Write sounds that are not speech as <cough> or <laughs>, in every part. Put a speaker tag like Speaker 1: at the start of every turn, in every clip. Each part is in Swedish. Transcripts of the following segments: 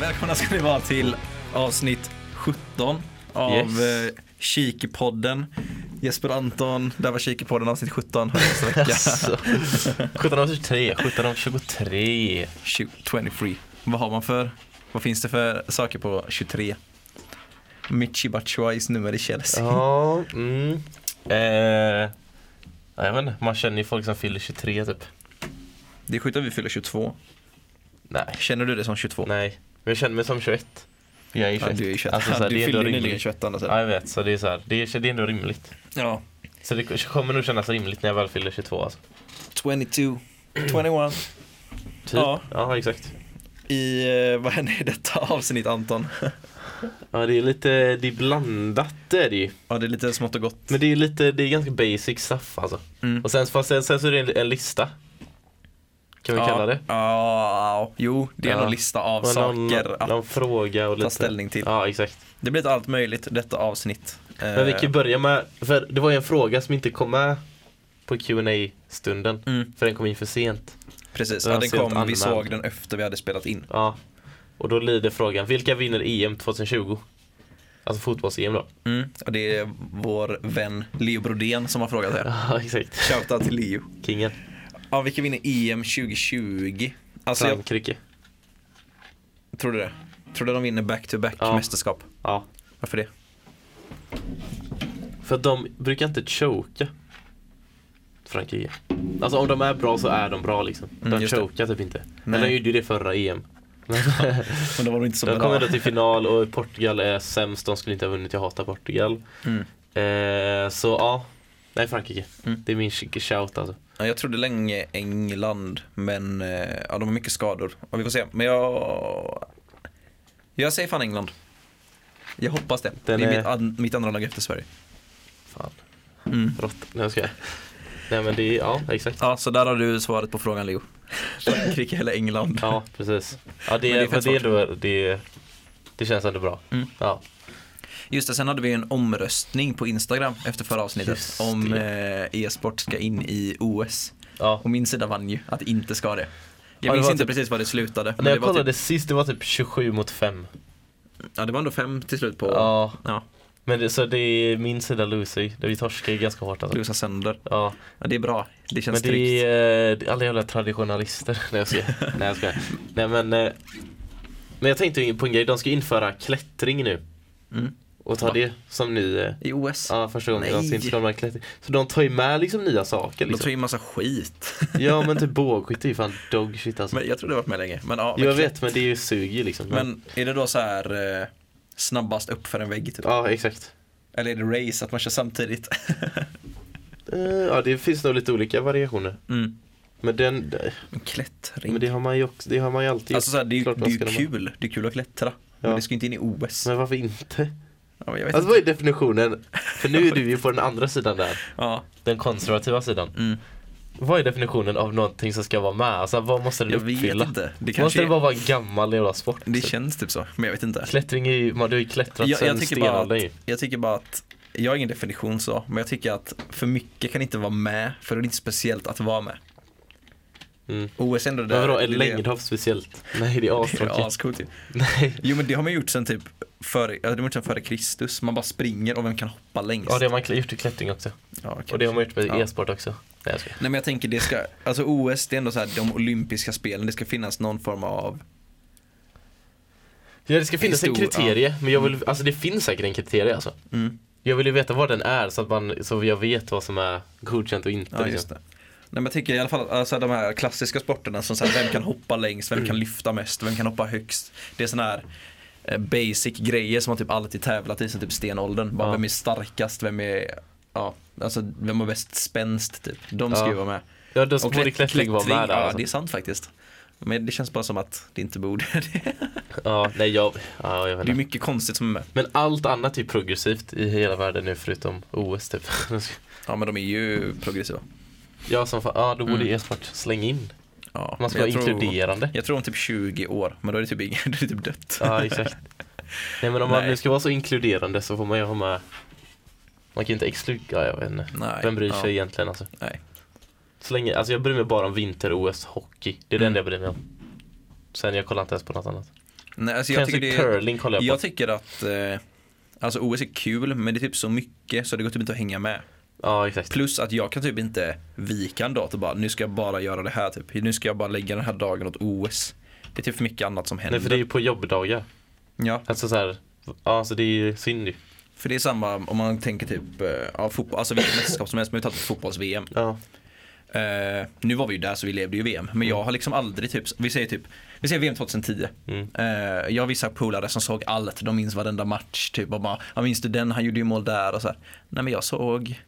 Speaker 1: Välkomna ska ni vara till avsnitt 17 av
Speaker 2: Yes.
Speaker 1: yes. Kikipodden. Jesper och Anton, där var Kikipodden avsnitt 17. Hörs nästa vecka.
Speaker 2: <laughs> Alltså, 17 av 23, 17 av 23.
Speaker 1: Shoot, 23. Vad har man för, vad finns det för saker på 23? Michi Batshuayis nummer i Chelsea.
Speaker 2: Ja, mm. Eh, ja, jag vet inte, man känner ju folk som fyller 23 typ.
Speaker 1: Det är sjukt att vi fyller 22.
Speaker 2: Nej,
Speaker 1: Känner du det som 22?
Speaker 2: nej. Men jag känner mig som 21. Jag är ju
Speaker 1: Ja,
Speaker 2: 21.
Speaker 1: du är ju 21.
Speaker 2: Alltså, så
Speaker 1: <laughs>
Speaker 2: här,
Speaker 1: du
Speaker 2: det är
Speaker 1: fyllde
Speaker 2: ändå
Speaker 1: ju nyligen
Speaker 2: rimligt.
Speaker 1: 21 andra
Speaker 2: Ja,
Speaker 1: sidan.
Speaker 2: jag vet, så det är så här, det är, det är ändå rimligt.
Speaker 1: Ja.
Speaker 2: Så det kommer nog kännas rimligt när jag väl fyller 22 alltså.
Speaker 1: 22. 21.
Speaker 2: Typ.
Speaker 1: Ja.
Speaker 2: ja exakt.
Speaker 1: I, eh, <laughs> vad händer i detta avsnitt
Speaker 2: <laughs>
Speaker 1: Anton?
Speaker 2: Ja, det är lite, det är blandat det är det ju.
Speaker 1: Ja, det är lite smått och gott.
Speaker 2: Men det är lite, det är ganska basic stuff alltså.
Speaker 1: Mm.
Speaker 2: Och sen, fast sen, sen så är det en, en lista. Kan vi
Speaker 1: ja.
Speaker 2: kalla det.
Speaker 1: Ja, jo, det är
Speaker 2: Ja.
Speaker 1: en lista av
Speaker 2: Och
Speaker 1: saker
Speaker 2: någon,
Speaker 1: att
Speaker 2: någon fråga och
Speaker 1: ta
Speaker 2: lite.
Speaker 1: ställning till.
Speaker 2: Ja, exakt.
Speaker 1: Det blir lite allt möjligt detta avsnitt.
Speaker 2: Men vi kan ju
Speaker 1: Eh.
Speaker 2: börja med, för det var ju en fråga som inte kom med på qa stunden
Speaker 1: Mm,
Speaker 2: För den kom in för sent.
Speaker 1: Eh, precis,
Speaker 2: Den
Speaker 1: ja,
Speaker 2: har
Speaker 1: den
Speaker 2: sent
Speaker 1: kom, vi
Speaker 2: anmäld.
Speaker 1: såg den efter vi hade spelat in.
Speaker 2: Ja. Och då lyder frågan, vilka vinner E EM 2020? Alltså fotbolls-EM då. <laughs>
Speaker 1: Mm. Och det är vår vän Leo Brodén som har frågat här.
Speaker 2: Ja, exakt.
Speaker 1: Shoutout till Leo.
Speaker 2: Kingen.
Speaker 1: Ja, vilka vinner EM 2020? Alltså, jag
Speaker 2: Frankrike.
Speaker 1: tror du det? Tror du de vinner back-to-back
Speaker 2: Ja.
Speaker 1: mästerskap?
Speaker 2: Ja.
Speaker 1: Varför det?
Speaker 2: För att de brukar inte choka. Frankrike. Alltså om de är bra så är de bra liksom. De
Speaker 1: Mm, just det.
Speaker 2: chokar typ inte.
Speaker 1: Nej.
Speaker 2: Men de gjorde ju det förra E EM. <laughs>
Speaker 1: Men då var de inte så
Speaker 2: De kom
Speaker 1: bra.
Speaker 2: ändå till final och Portugal är sämst, de skulle inte ha vunnit, jag hatar Portugal.
Speaker 1: Mm.
Speaker 2: Eh, så ja, nej Frankrike.
Speaker 1: Mm.
Speaker 2: Det är min chic shout alltså.
Speaker 1: Ja, Jag trodde länge England, men eh, ja, de har mycket skador. Ja, vi får se, men jag... Jag säger fan England. Jag hoppas det.
Speaker 2: Den
Speaker 1: det är,
Speaker 2: är-
Speaker 1: Mitt, an, mitt andra lag efter Sverige.
Speaker 2: Fan,
Speaker 1: Mm.
Speaker 2: rått. Nej jag skojar. Nej men det är, ja exakt.
Speaker 1: Ja, så där har du svaret på frågan
Speaker 2: <laughs>
Speaker 1: Leo. Frankrike eller England.
Speaker 2: Ja precis. Ja det,
Speaker 1: Men det är
Speaker 2: är,
Speaker 1: fett
Speaker 2: men det, är då, det, det känns ändå bra.
Speaker 1: Mm.
Speaker 2: Ja.
Speaker 1: Just det, sen hade vi en omröstning på Instagram efter förra avsnittet
Speaker 2: Just
Speaker 1: om eh, e-sport ska in i OS.
Speaker 2: ja.
Speaker 1: Och min sida vann ju att det inte ska det.
Speaker 2: Ja,
Speaker 1: Jag
Speaker 2: det
Speaker 1: minns
Speaker 2: var
Speaker 1: inte
Speaker 2: typ-
Speaker 1: precis var det slutade. men
Speaker 2: När
Speaker 1: det,
Speaker 2: jag
Speaker 1: var
Speaker 2: kollade
Speaker 1: typ,
Speaker 2: sist det var typ 27 mot 5.
Speaker 1: ja, det var ändå fem till slut på...
Speaker 2: Ja.
Speaker 1: Ja,
Speaker 2: Men det, så det är min sida Lucy, där vi torskar ju ganska hårt alltså.
Speaker 1: Losa sönder.
Speaker 2: Ja.
Speaker 1: Ja, det är bra. Det känns
Speaker 2: Men
Speaker 1: tryggt.
Speaker 2: det är eh, det är alla jävla traditionalister. <laughs> Nej jag skojar.
Speaker 1: <laughs>
Speaker 2: Nej jag skojar. Nej men. eh, Men jag tänkte ju på en grej. De ska införa klättring nu.
Speaker 1: Mm.
Speaker 2: Och ta
Speaker 1: Va?
Speaker 2: det som ny. eh,
Speaker 1: I OS.
Speaker 2: Ja första gången de
Speaker 1: Nej.
Speaker 2: ska införa de här klättring. Så de tar ju med liksom nya saker
Speaker 1: De tar
Speaker 2: liksom.
Speaker 1: ju en massa skit. <laughs>
Speaker 2: Ja men typ bågskytte är ju fan dog shit alltså.
Speaker 1: Men jag tror det har varit med länge. Men, ja,
Speaker 2: Jo, jag
Speaker 1: verkligen.
Speaker 2: vet men det är ju suger liksom.
Speaker 1: men är det då så här eh, snabbast upp för en vägg typ?
Speaker 2: Ja exakt.
Speaker 1: Eller är det race, att man kör samtidigt? <laughs>
Speaker 2: Eh, Ja det finns nog lite olika variationer.
Speaker 1: Mm.
Speaker 2: Men den,
Speaker 1: Men klättring.
Speaker 2: men det har man ju också, det har man ju alltid
Speaker 1: alltså så här, det är ju
Speaker 2: Klart
Speaker 1: det
Speaker 2: man
Speaker 1: är ju
Speaker 2: ska de ha.
Speaker 1: kul. Det är kul att klättra. Men
Speaker 2: Ja.
Speaker 1: det ska ju inte in i OS.
Speaker 2: Men varför inte?
Speaker 1: Ja, men jag vet
Speaker 2: Alltså
Speaker 1: inte.
Speaker 2: vad är definitionen? För nu är du ju på den andra sidan där.
Speaker 1: Ja,
Speaker 2: den konservativa sidan.
Speaker 1: mm.
Speaker 2: Vad är definitionen av någonting som ska vara med? Alltså vad måste den
Speaker 1: Jag vet
Speaker 2: uppfylla?
Speaker 1: inte. Det
Speaker 2: måste
Speaker 1: kanske
Speaker 2: det
Speaker 1: är,
Speaker 2: bara vara en gammal jävla sport?
Speaker 1: det känns typ så, men jag vet inte.
Speaker 2: Klättring är ju, man, du har ju klättrat
Speaker 1: Jag,
Speaker 2: sen
Speaker 1: jag, tycker bara
Speaker 2: stenåldern ju.
Speaker 1: att, jag tycker bara att, jag har ingen definition så, men jag tycker att för mycket kan inte vara med, för det är inte speciellt att vara med.
Speaker 2: Mm.
Speaker 1: OS är ändå det
Speaker 2: Men vadå,
Speaker 1: det är
Speaker 2: en
Speaker 1: det- <laughs>
Speaker 2: längdhopp speciellt? Nej det är
Speaker 1: Det är
Speaker 2: astråkigt.
Speaker 1: ascoolt ju.
Speaker 2: <laughs> Nej.
Speaker 1: Jo men det har man gjort sen typ före, ja, det har man gjort sen före Kristus. Man bara springer och vem kan hoppa längst.
Speaker 2: Ja det har man kl- gjort i klättring också.
Speaker 1: Ja, okej.
Speaker 2: Och det har man gjort med E
Speaker 1: Ja.
Speaker 2: e-sport också. Nej jag skojar.
Speaker 1: Nej men jag tänker det ska, alltså OS det är ändå så här de olympiska spelen, det ska finnas någon form av,
Speaker 2: Ja det ska finnas en
Speaker 1: Histor- ja.
Speaker 2: kriterie, men jag vill, alltså det finns säkert en kriterie alltså.
Speaker 1: mm,
Speaker 2: Jag vill ju veta vad den är så att man, så jag vet vad som är godkänt och inte.
Speaker 1: ja
Speaker 2: liksom.
Speaker 1: just det. Nej men jag tänker i alla fall alltså, de här klassiska sporterna som så här, vem kan hoppa längst, vem
Speaker 2: Mm.
Speaker 1: kan lyfta mest, vem kan hoppa högst. Det är sådana här eh, basic grejer som man typ alltid tävlat i sen typ stenåldern. Bara
Speaker 2: Ja.
Speaker 1: vem är starkast, vem är, ja, alltså vem har bäst spänst typ. De ska
Speaker 2: Ja.
Speaker 1: ju vara med.
Speaker 2: Ja då ska
Speaker 1: Och
Speaker 2: borde
Speaker 1: klätt-
Speaker 2: klättring vara med där.
Speaker 1: ja,
Speaker 2: Alltså.
Speaker 1: det är sant faktiskt. Men det känns bara som att det inte borde <laughs> det.
Speaker 2: Ja, nej jag, ja, jag vet
Speaker 1: Det
Speaker 2: inte.
Speaker 1: är mycket konstigt som är med.
Speaker 2: Men allt annat är progressivt i hela världen nu förutom OS typ. <laughs>
Speaker 1: Ja men de är ju progressiva.
Speaker 2: Jag som fan, ja då borde
Speaker 1: Mm.
Speaker 2: e-sport slänga in.
Speaker 1: Ja,
Speaker 2: Man ska
Speaker 1: men
Speaker 2: vara
Speaker 1: jag tror- <laughs>
Speaker 2: inkluderande.
Speaker 1: Jag tror om typ 20 år, men då är det typ, ingen, <laughs> då är det typ dött.
Speaker 2: Ja exakt. Nej men om man
Speaker 1: Nej.
Speaker 2: nu ska vara så inkluderande så får man ju ha med Man kan ju inte exkludera, ja, jag vet inte.
Speaker 1: Nej,
Speaker 2: Vem bryr sig
Speaker 1: ja.
Speaker 2: egentligen alltså?
Speaker 1: Nej.
Speaker 2: Så länge, alltså jag bryr mig bara om vinter-OS hockey. Det är
Speaker 1: Mm.
Speaker 2: det enda jag bryr mig om. Sen jag kollar inte ens på något annat.
Speaker 1: Nej, alltså jag
Speaker 2: Kanske
Speaker 1: tycker, det,
Speaker 2: curling kollar jag på.
Speaker 1: jag tycker att eh, Alltså OS är kul men det är typ så mycket så det går typ inte att hänga med.
Speaker 2: Ja, exakt.
Speaker 1: Plus att jag kan typ inte vika en dag och bara nu ska jag bara göra det här typ. Nu ska jag bara lägga den här dagen åt OS. Det är typ för mycket annat som händer.
Speaker 2: Nej, för det är ju på jobbdagar.
Speaker 1: Ja,
Speaker 2: Alltså så här, ja, så det är ju synd ju.
Speaker 1: för det är samma om man tänker typ eh, ja, fotboll, alltså vilket mästerskap som helst. Man har ju tagit fotbolls-VM.
Speaker 2: Ja.
Speaker 1: Eh, nu var vi ju där så vi levde ju VM. Men jag har liksom aldrig typ, vi säger typ, vi säger VM 2010.
Speaker 2: Mm.
Speaker 1: Eh, jag har vissa polare som såg allt, de minns varenda match typ och bara, jag minns du den, han gjorde ju mål där och så här. Nej men jag såg,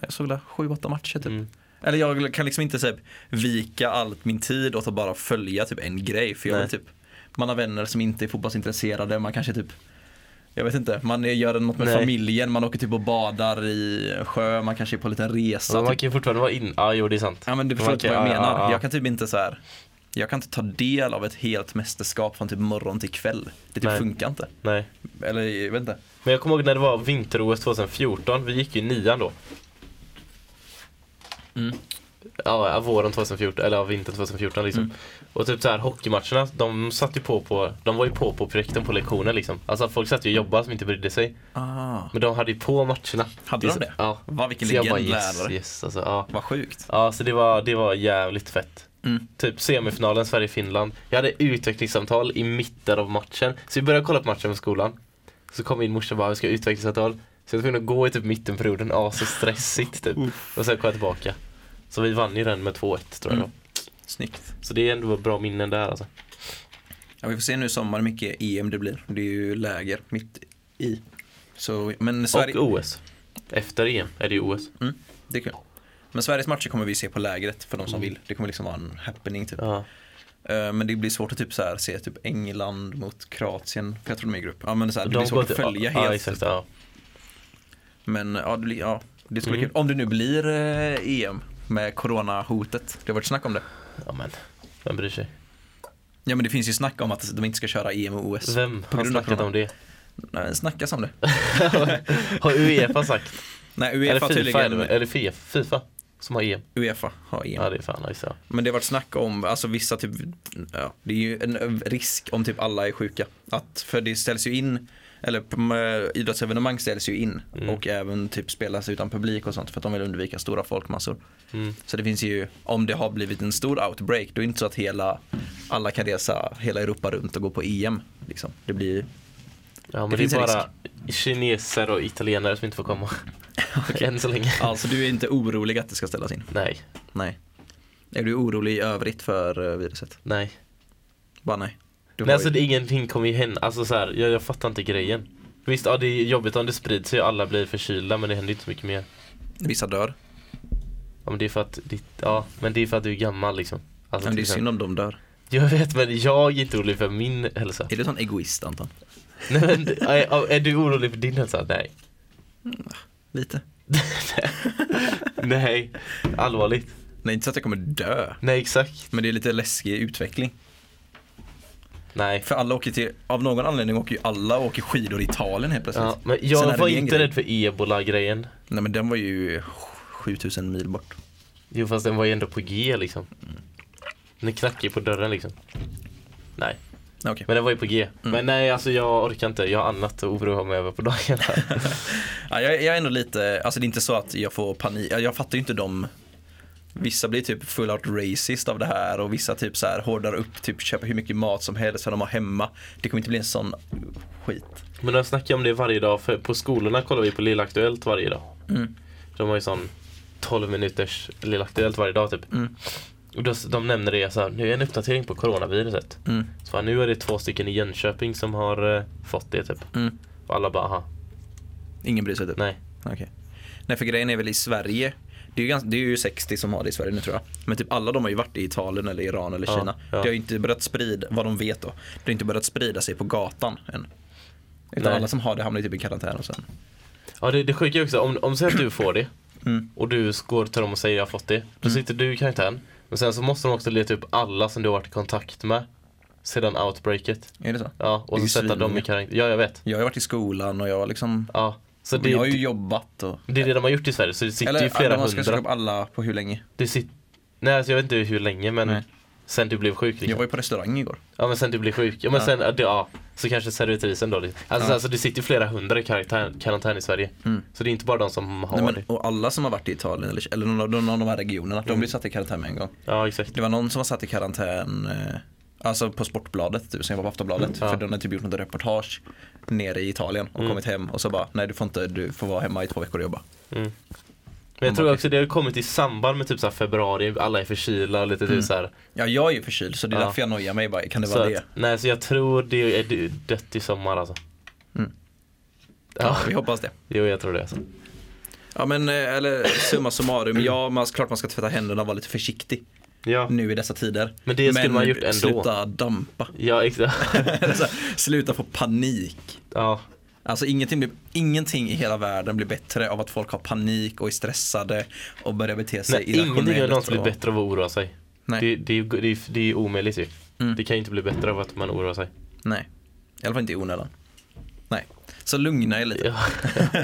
Speaker 1: jag såg där 7-8 matcher typ.
Speaker 2: Mm.
Speaker 1: Eller jag kan liksom inte typ, vika allt min tid åt att bara följa typ en grej. För jag
Speaker 2: Nej.
Speaker 1: vill typ, man har vänner som inte är fotbollsintresserade, man kanske typ jag vet inte, man gör något med
Speaker 2: Nej.
Speaker 1: familjen, man åker typ och badar i sjö, man kanske är på en liten resa.
Speaker 2: Men
Speaker 1: typ.
Speaker 2: man kan ju fortfarande vara in. Ja, jo det är sant.
Speaker 1: Ja men du
Speaker 2: Man
Speaker 1: förstår inte
Speaker 2: kan-
Speaker 1: vad jag
Speaker 2: ja,
Speaker 1: menar.
Speaker 2: ja, ja.
Speaker 1: Jag kan typ inte så här. Jag kan inte ta del av ett helt mästerskap från typ morgon till kväll. Det typ
Speaker 2: Nej.
Speaker 1: funkar inte.
Speaker 2: Nej.
Speaker 1: Eller jag vet inte.
Speaker 2: Men jag kommer ihåg när det var vinter-OS 2014, vi gick ju i nian då.
Speaker 1: Mm.
Speaker 2: Ja, ja, våren 2014, eller ja, vintern 2014 liksom.
Speaker 1: Mm.
Speaker 2: Och typ så här hockeymatcherna, de satt ju på på, de var ju på på projekten på lektionen liksom. Alltså folk satt ju och jobbade som inte brydde sig.
Speaker 1: Ah.
Speaker 2: Men de hade ju på matcherna.
Speaker 1: Hade de det?
Speaker 2: Ja.
Speaker 1: Vad vilken
Speaker 2: Så jag bara
Speaker 1: legend
Speaker 2: yes,
Speaker 1: lärare.
Speaker 2: yes alltså, ja.
Speaker 1: Vad sjukt.
Speaker 2: ja, så det var, det var jävligt fett.
Speaker 1: Mm.
Speaker 2: Typ semifinalen Sverige-Finland. Jag hade utvecklingssamtal i mitten av matchen. Så vi började kolla på matchen på skolan. Så kom min morsa och bara, vi ska ha utvecklingssamtal. Så jag var tvungen att gå i typ mittenperioden, ja så stressigt typ. Och sen kom jag tillbaka. Så vi vann ju den med 2-1 tror jag
Speaker 1: Mm.
Speaker 2: det
Speaker 1: Snyggt.
Speaker 2: var. Så det är ändå bra minnen där alltså.
Speaker 1: Ja, vi får se nu i sommar hur mycket EM det blir. Det är ju läger mitt i. Så, men Sverige,
Speaker 2: Och OS. Efter EM är det ju OS.
Speaker 1: det är kul. Men Sveriges matcher kommer vi se på lägret för de som
Speaker 2: Mm.
Speaker 1: vill. Det kommer liksom vara en happening typ.
Speaker 2: Ja.
Speaker 1: Eh, Men det blir svårt att typ så här, se typ England mot Kroatien, för jag tror de är i grupp. Ja, men så här, det blir svårt att följa
Speaker 2: ja,
Speaker 1: helt.
Speaker 2: Exakt, ja.
Speaker 1: Men ja, det, blir, ja, det ska bli
Speaker 2: Mm.
Speaker 1: kul. Om det nu blir eh, EM med coronahotet. Det har varit snack om det.
Speaker 2: ja men, vem bryr sig?
Speaker 1: Ja men det finns ju snack om att de inte ska köra EM och OS.
Speaker 2: Vem
Speaker 1: På
Speaker 2: har
Speaker 1: grund av
Speaker 2: snackat
Speaker 1: corona. <laughs>
Speaker 2: om det?
Speaker 1: Nej, snackas om det.
Speaker 2: har Uefa sagt?
Speaker 1: Nej
Speaker 2: Eller
Speaker 1: Uefa
Speaker 2: Fifa är det
Speaker 1: tydligen.
Speaker 2: väl? Eller Fe- Fifa som har EM.
Speaker 1: Uefa har E EM.
Speaker 2: Ja det är fan nice. Ja.
Speaker 1: Men det har varit snack om, alltså vissa typ, ja, det är ju en risk om typ alla är sjuka. Att, för det ställs ju in, eller p- idrottsevenemang ställs ju in
Speaker 2: Mm.
Speaker 1: och även typ spelas utan publik och sånt för att de vill undvika stora folkmassor.
Speaker 2: Mm.
Speaker 1: Så det finns ju, om det har blivit en stor outbreak, då är det inte så att hela, alla kan resa hela Europa runt och gå på EM. Liksom. Det blir,
Speaker 2: Ja men
Speaker 1: Det
Speaker 2: det,
Speaker 1: finns en
Speaker 2: är bara kineser och italienare som inte
Speaker 1: <laughs>
Speaker 2: får komma. Än så länge.
Speaker 1: alltså du är inte orolig att det ska ställas in?
Speaker 2: Nej,
Speaker 1: Nej. Är du orolig i övrigt för eh, viruset?
Speaker 2: nej.
Speaker 1: Bara nej. Du
Speaker 2: Nej
Speaker 1: har
Speaker 2: alltså
Speaker 1: ju-
Speaker 2: det, ingenting kommer ju hända. Alltså så här, jag, jag fattar inte grejen. Visst, ja det är jobbigt om det sprids sig och alla blir förkylda men det händer ju inte så mycket mer.
Speaker 1: Vissa dör.
Speaker 2: Ja men det är för att, ditt, ja men det är för att du är gammal liksom. Alltså,
Speaker 1: Men det är
Speaker 2: till
Speaker 1: synd om de dör.
Speaker 2: exempel- Jag vet men jag är inte orolig för min hälsa.
Speaker 1: Är du en sån egoist Anton? <laughs>
Speaker 2: Nej, men, är, är du orolig för din hälsa? Nej. <laughs>
Speaker 1: Lite.
Speaker 2: Nej. Allvarligt.
Speaker 1: Nej inte så att jag kommer dö.
Speaker 2: Nej exakt.
Speaker 1: Men det är lite läskig utveckling.
Speaker 2: Nej.
Speaker 1: För alla åker till, av någon anledning åker ju alla åker skidor i Italien helt plötsligt.
Speaker 2: Ja, men
Speaker 1: Sen är
Speaker 2: jag
Speaker 1: det
Speaker 2: var
Speaker 1: din
Speaker 2: inte
Speaker 1: grej.
Speaker 2: rädd för ebola-grejen.
Speaker 1: Nej men den var ju 7000 mil bort.
Speaker 2: Jo fast den var ju ändå på G liksom.
Speaker 1: Mm.
Speaker 2: Den knackade ju på dörren liksom. Nej,
Speaker 1: Nej, Okej.
Speaker 2: men den var ju på G.
Speaker 1: Mm.
Speaker 2: Men nej alltså jag orkar inte, jag har annat att oroa mig över
Speaker 1: <laughs>
Speaker 2: på dagarna.
Speaker 1: Ja, jag, jag är ändå lite, alltså det är inte så att jag får panik, jag jag fattar ju inte de Vissa blir typ full out racist av det här och vissa typ så här hårdar upp, typ köper hur mycket mat som helst för de har hemma. Det kommer inte bli en sån skit.
Speaker 2: men de snackar om det varje dag, för på skolorna kollar vi på Lilla Aktuellt varje dag.
Speaker 1: Mm.
Speaker 2: De har ju sån 12 minuters Lilla Aktuellt varje dag typ.
Speaker 1: Mm.
Speaker 2: Och då, de nämner det så här, nu är en uppdatering på coronaviruset.
Speaker 1: Mm.
Speaker 2: Så bara, nu är det två stycken i Jönköping som har eh, fått det typ.
Speaker 1: Mm.
Speaker 2: Och alla bara aha,
Speaker 1: Ingen bryr sig typ.
Speaker 2: nej.
Speaker 1: Okej. Nej för grejen är väl i Sverige det är, ju ganska, det är ju 60 som har det i Sverige nu tror jag. Men typ alla de har ju varit i Italien eller Iran eller
Speaker 2: Ja,
Speaker 1: Kina.
Speaker 2: ja.
Speaker 1: Det har ju inte börjat sprida, vad de vet då. Det har inte börjat sprida sig på gatan än. Utan
Speaker 2: Nej.
Speaker 1: alla som har det hamnar ju typ i karantän och sen.
Speaker 2: Ja det, det sjuka är också, om, om säg att du får det
Speaker 1: <clears throat> Mm.
Speaker 2: och du går till dem och säger jag har fått det. Då sitter du i karantän. Men sen så måste de också leta upp alla som du har varit i kontakt med sedan outbreaket.
Speaker 1: Är det så?
Speaker 2: Ja, och
Speaker 1: Det
Speaker 2: så
Speaker 1: är
Speaker 2: sätta dem
Speaker 1: svinmånga.
Speaker 2: i karantän. Ja, jag vet.
Speaker 1: Jag har ju varit i skolan och jag har liksom
Speaker 2: Ja. Så
Speaker 1: Men
Speaker 2: det,
Speaker 1: Jag har ju jobbat och
Speaker 2: det är det de har gjort i Sverige, så det sitter ju
Speaker 1: Eller
Speaker 2: flera
Speaker 1: man ska
Speaker 2: hundra.
Speaker 1: söka upp alla på hur länge?
Speaker 2: Det sit... Nej, alltså jag vet inte hur länge men
Speaker 1: Nej.
Speaker 2: Sen du blev sjuk.
Speaker 1: Jag
Speaker 2: Liksom.
Speaker 1: var ju på restaurang igår.
Speaker 2: Ja men sen du blev sjuk. Ja men
Speaker 1: Ja.
Speaker 2: sen, ja, det- ja. Så kanske servitrisen då. Liksom. Alltså,
Speaker 1: Ja.
Speaker 2: alltså det sitter ju flera hundra i karantän, karantän i Sverige.
Speaker 1: Mm.
Speaker 2: Så det är inte bara de som har
Speaker 1: Nej, men,
Speaker 2: det. Mm.
Speaker 1: och alla som har varit i Italien eller, eller någon, av- någon av de här regionerna, de blir satta i karantän med en gång.
Speaker 2: Ja exakt.
Speaker 1: Det var någon som var satt i karantän, eh, alltså på Sportbladet, typ, som jag var på Aftonbladet,
Speaker 2: Ja.
Speaker 1: för de hade typ gjort något reportage nere i Italien och
Speaker 2: Mm.
Speaker 1: kommit hem och så bara, nej du får inte, du får vara hemma i två veckor och jobba.
Speaker 2: Mm. Men jag tror också det har kommit i samband med typ så här februari, alla är förkylda och lite
Speaker 1: Mm.
Speaker 2: typ så här.
Speaker 1: Ja, jag är ju förkyld så det är
Speaker 2: Ja.
Speaker 1: därför jag nojar mig bara, kan det
Speaker 2: Så
Speaker 1: vara
Speaker 2: att,
Speaker 1: det?
Speaker 2: nej så jag tror det är d- dött i sommar alltså.
Speaker 1: Mm.
Speaker 2: Ja,
Speaker 1: Ja, vi hoppas det.
Speaker 2: jo jag tror det alltså.
Speaker 1: Ja men, eh, eller summa summarum, ja man, klart man ska tvätta händerna och vara lite försiktig
Speaker 2: Ja,
Speaker 1: nu i dessa tider.
Speaker 2: Men det skulle man ha gjort ändå.
Speaker 1: sluta dampa. <laughs>
Speaker 2: ja exakt. <laughs>
Speaker 1: Eller så här, sluta få panik.
Speaker 2: ja.
Speaker 1: Alltså ingenting, blir, ingenting i hela världen blir bättre av att folk har panik och är stressade och börjar bete sig
Speaker 2: Nej, ingenting har någonsin
Speaker 1: och-
Speaker 2: blivit bättre av att oroa sig.
Speaker 1: Nej.
Speaker 2: Det, det, är ju- det, är- det är ju omöjligt ju.
Speaker 1: Mm.
Speaker 2: Det kan ju inte bli bättre av att man oroar sig.
Speaker 1: Nej, i alla fall inte i onödan. Nej, så lugna er
Speaker 2: <laughs>
Speaker 1: lite. <laughs>
Speaker 2: Ja,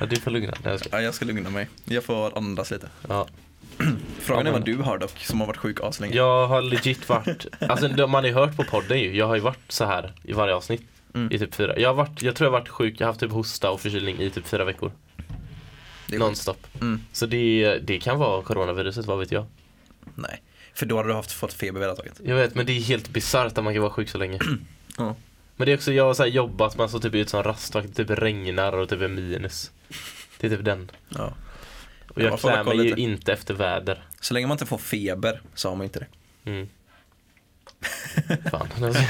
Speaker 2: ja du får lugna. Nej, jag ska.
Speaker 1: Ja, jag ska lugna mig. Jag får andas lite.
Speaker 2: Ja.
Speaker 1: Frågan är
Speaker 2: Ja, men-
Speaker 1: vad du har dock, som har varit sjuk aslänge.
Speaker 2: Jag har legit varit, alltså det- man har ju hört på podden ju, jag har ju varit så här i varje avsnitt.
Speaker 1: Mm.
Speaker 2: I typ fyra. Jag, har varit, jag tror jag har varit sjuk, jag har haft typ hosta och förkylning i typ fyra veckor.
Speaker 1: Det är sjukt.
Speaker 2: Nonstop.
Speaker 1: Mm.
Speaker 2: Så det, det kan vara coronaviruset, vad vet jag.
Speaker 1: Nej, för då hade du haft, fått feber vid det här taget.
Speaker 2: Jag vet men det är helt bisarrt att man kan vara sjuk
Speaker 1: <clears throat>
Speaker 2: så länge.
Speaker 1: Ja.
Speaker 2: Men det är också, jag har så här jobbat, man står typ ut som rastvakt, det typ regnar och typ är minus. Det är typ den.
Speaker 1: Ja.
Speaker 2: Och
Speaker 1: Ja,
Speaker 2: jag
Speaker 1: man får väl
Speaker 2: klär
Speaker 1: kolla
Speaker 2: mig ju
Speaker 1: lite.
Speaker 2: inte efter väder.
Speaker 1: Så länge man inte får feber så har man inte det. <laughs>
Speaker 2: Mm. Fan, <laughs> alltså,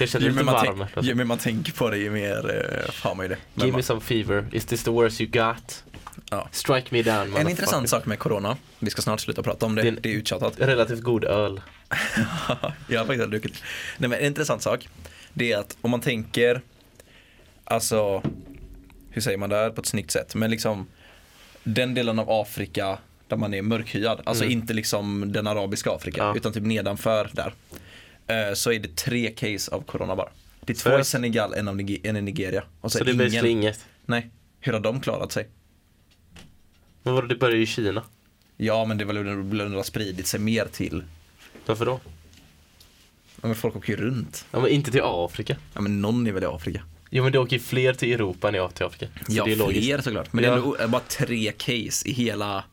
Speaker 2: jag känner mig
Speaker 1: mer
Speaker 2: lite
Speaker 1: man,
Speaker 2: varm. alltså.
Speaker 1: tänk, ju mer man tänker på det, ju mer eh, har man ju det. Men
Speaker 2: Give
Speaker 1: man,
Speaker 2: me some fever, is this the worst you got?
Speaker 1: Ja.
Speaker 2: Strike me down
Speaker 1: en
Speaker 2: motherfucker.
Speaker 1: intressant sak med corona, vi ska snart sluta prata om det,
Speaker 2: Det
Speaker 1: det
Speaker 2: är
Speaker 1: är,
Speaker 2: en-
Speaker 1: uttjatat.
Speaker 2: Relativt god öl.
Speaker 1: jag har faktiskt druckit. Nej men en intressant sak, det är att om man tänker, alltså, hur säger man det här på ett snyggt sätt, men liksom den delen av Afrika där man är mörkhyad, alltså
Speaker 2: Mm.
Speaker 1: inte liksom den arabiska Afrika,
Speaker 2: Ja.
Speaker 1: utan typ nedanför där. eh, Så är det tre case av corona bara. Det är två i
Speaker 2: Seriöst?
Speaker 1: Senegal, en, av Nige- en i Nigeria. Och
Speaker 2: Så det är basically inget.
Speaker 1: Nej, hur har de klarat sig?
Speaker 2: Men vadå, det börjar ju i Kina.
Speaker 1: Ja men det var väl väl har spridit sig mer till,
Speaker 2: Varför då?
Speaker 1: ja, men folk åker ju runt.
Speaker 2: Ja men inte till Afrika.
Speaker 1: Ja men någon är väl i Afrika.
Speaker 2: Jo men det åker ju fler till Europa än till Afrika. Så
Speaker 1: Ja
Speaker 2: det är logiskt.
Speaker 1: fler såklart, men det
Speaker 2: Ja.
Speaker 1: är nog bara tre case i hela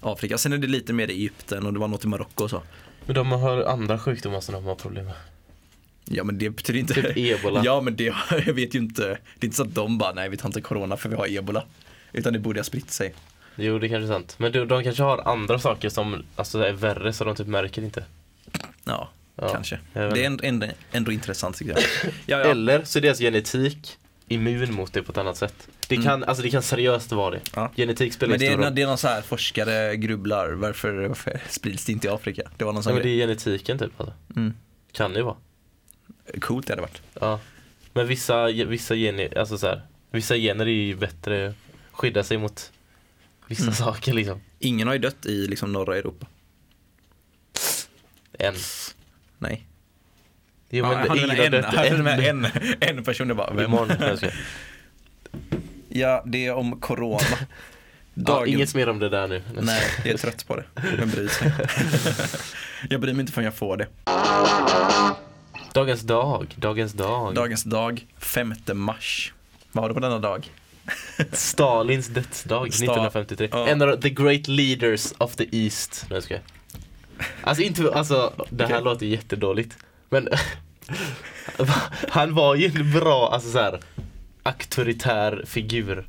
Speaker 1: Afrika. Sen är det lite mer i Egypten och det var något i Marocko och så.
Speaker 2: Men de har andra sjukdomar som de har problem med.
Speaker 1: Ja men det betyder inte...
Speaker 2: Typ ebola.
Speaker 1: Ja men det, <laughs> jag vet ju inte. Det är inte så att de bara, nej vi tar inte corona för vi har ebola. Utan det borde ha spritt sig.
Speaker 2: Jo det kanske är sant. Men de, de kanske har andra saker som alltså, är värre så de typ märker inte.
Speaker 1: Ja,
Speaker 2: Ja,
Speaker 1: kanske. Det
Speaker 2: jag vet
Speaker 1: är ändå, ändå, ändå intressant tycker
Speaker 2: <laughs>
Speaker 1: jag. Ja, ja.
Speaker 2: Eller så är deras genetik immun mot det på ett annat sätt. Det kan, alltså, det kan seriöst vara det.
Speaker 1: Mm. Ja.
Speaker 2: Genetik spelar
Speaker 1: Men det
Speaker 2: ju stor
Speaker 1: är,
Speaker 2: roll.
Speaker 1: det är någon så här forskare grubblar, varför, <laughs> varför sprids det inte i Afrika? Det var någon
Speaker 2: Ja,
Speaker 1: sån
Speaker 2: men det
Speaker 1: grej.
Speaker 2: är genetiken typ. Alltså.
Speaker 1: Mm.
Speaker 2: Kan det ju vara.
Speaker 1: Coolt det hade varit.
Speaker 2: Ja. Men vissa, vissa, gener, alltså så här, vissa gener är ju bättre, skyddar sig mot vissa saker liksom.
Speaker 1: Ingen har ju dött i liksom norra Europa.
Speaker 2: Än.
Speaker 1: Nej.
Speaker 2: Jo,
Speaker 1: Ja, han
Speaker 2: ingen
Speaker 1: menar
Speaker 2: har
Speaker 1: en,
Speaker 2: dött
Speaker 1: han
Speaker 2: än.
Speaker 1: menar en, en person det bara, vem?
Speaker 2: Imorgon kanske jag ska.
Speaker 1: Ja, det är om corona.
Speaker 2: ja,
Speaker 1: Dagen.
Speaker 2: Inget mer om det där nu.
Speaker 1: Nej, jag är trött på det. Vem bryr
Speaker 2: <laughs>
Speaker 1: sig? jag bryr mig inte förrän jag får det.
Speaker 2: Dagens dag, dagens dag.
Speaker 1: Dagens dag, 5 mars. Vad har du på denna
Speaker 2: <laughs>
Speaker 1: dag?
Speaker 2: Alltså, Stalins dödsdag
Speaker 1: Sta-
Speaker 2: 1953.
Speaker 1: ja.
Speaker 2: En av the great leaders of the East. Nej, jag skojar. Alltså, inte, alltså det här
Speaker 1: Okej.
Speaker 2: låter jättedåligt. Men <laughs> han var ju en bra, alltså så här, auktoritär figur.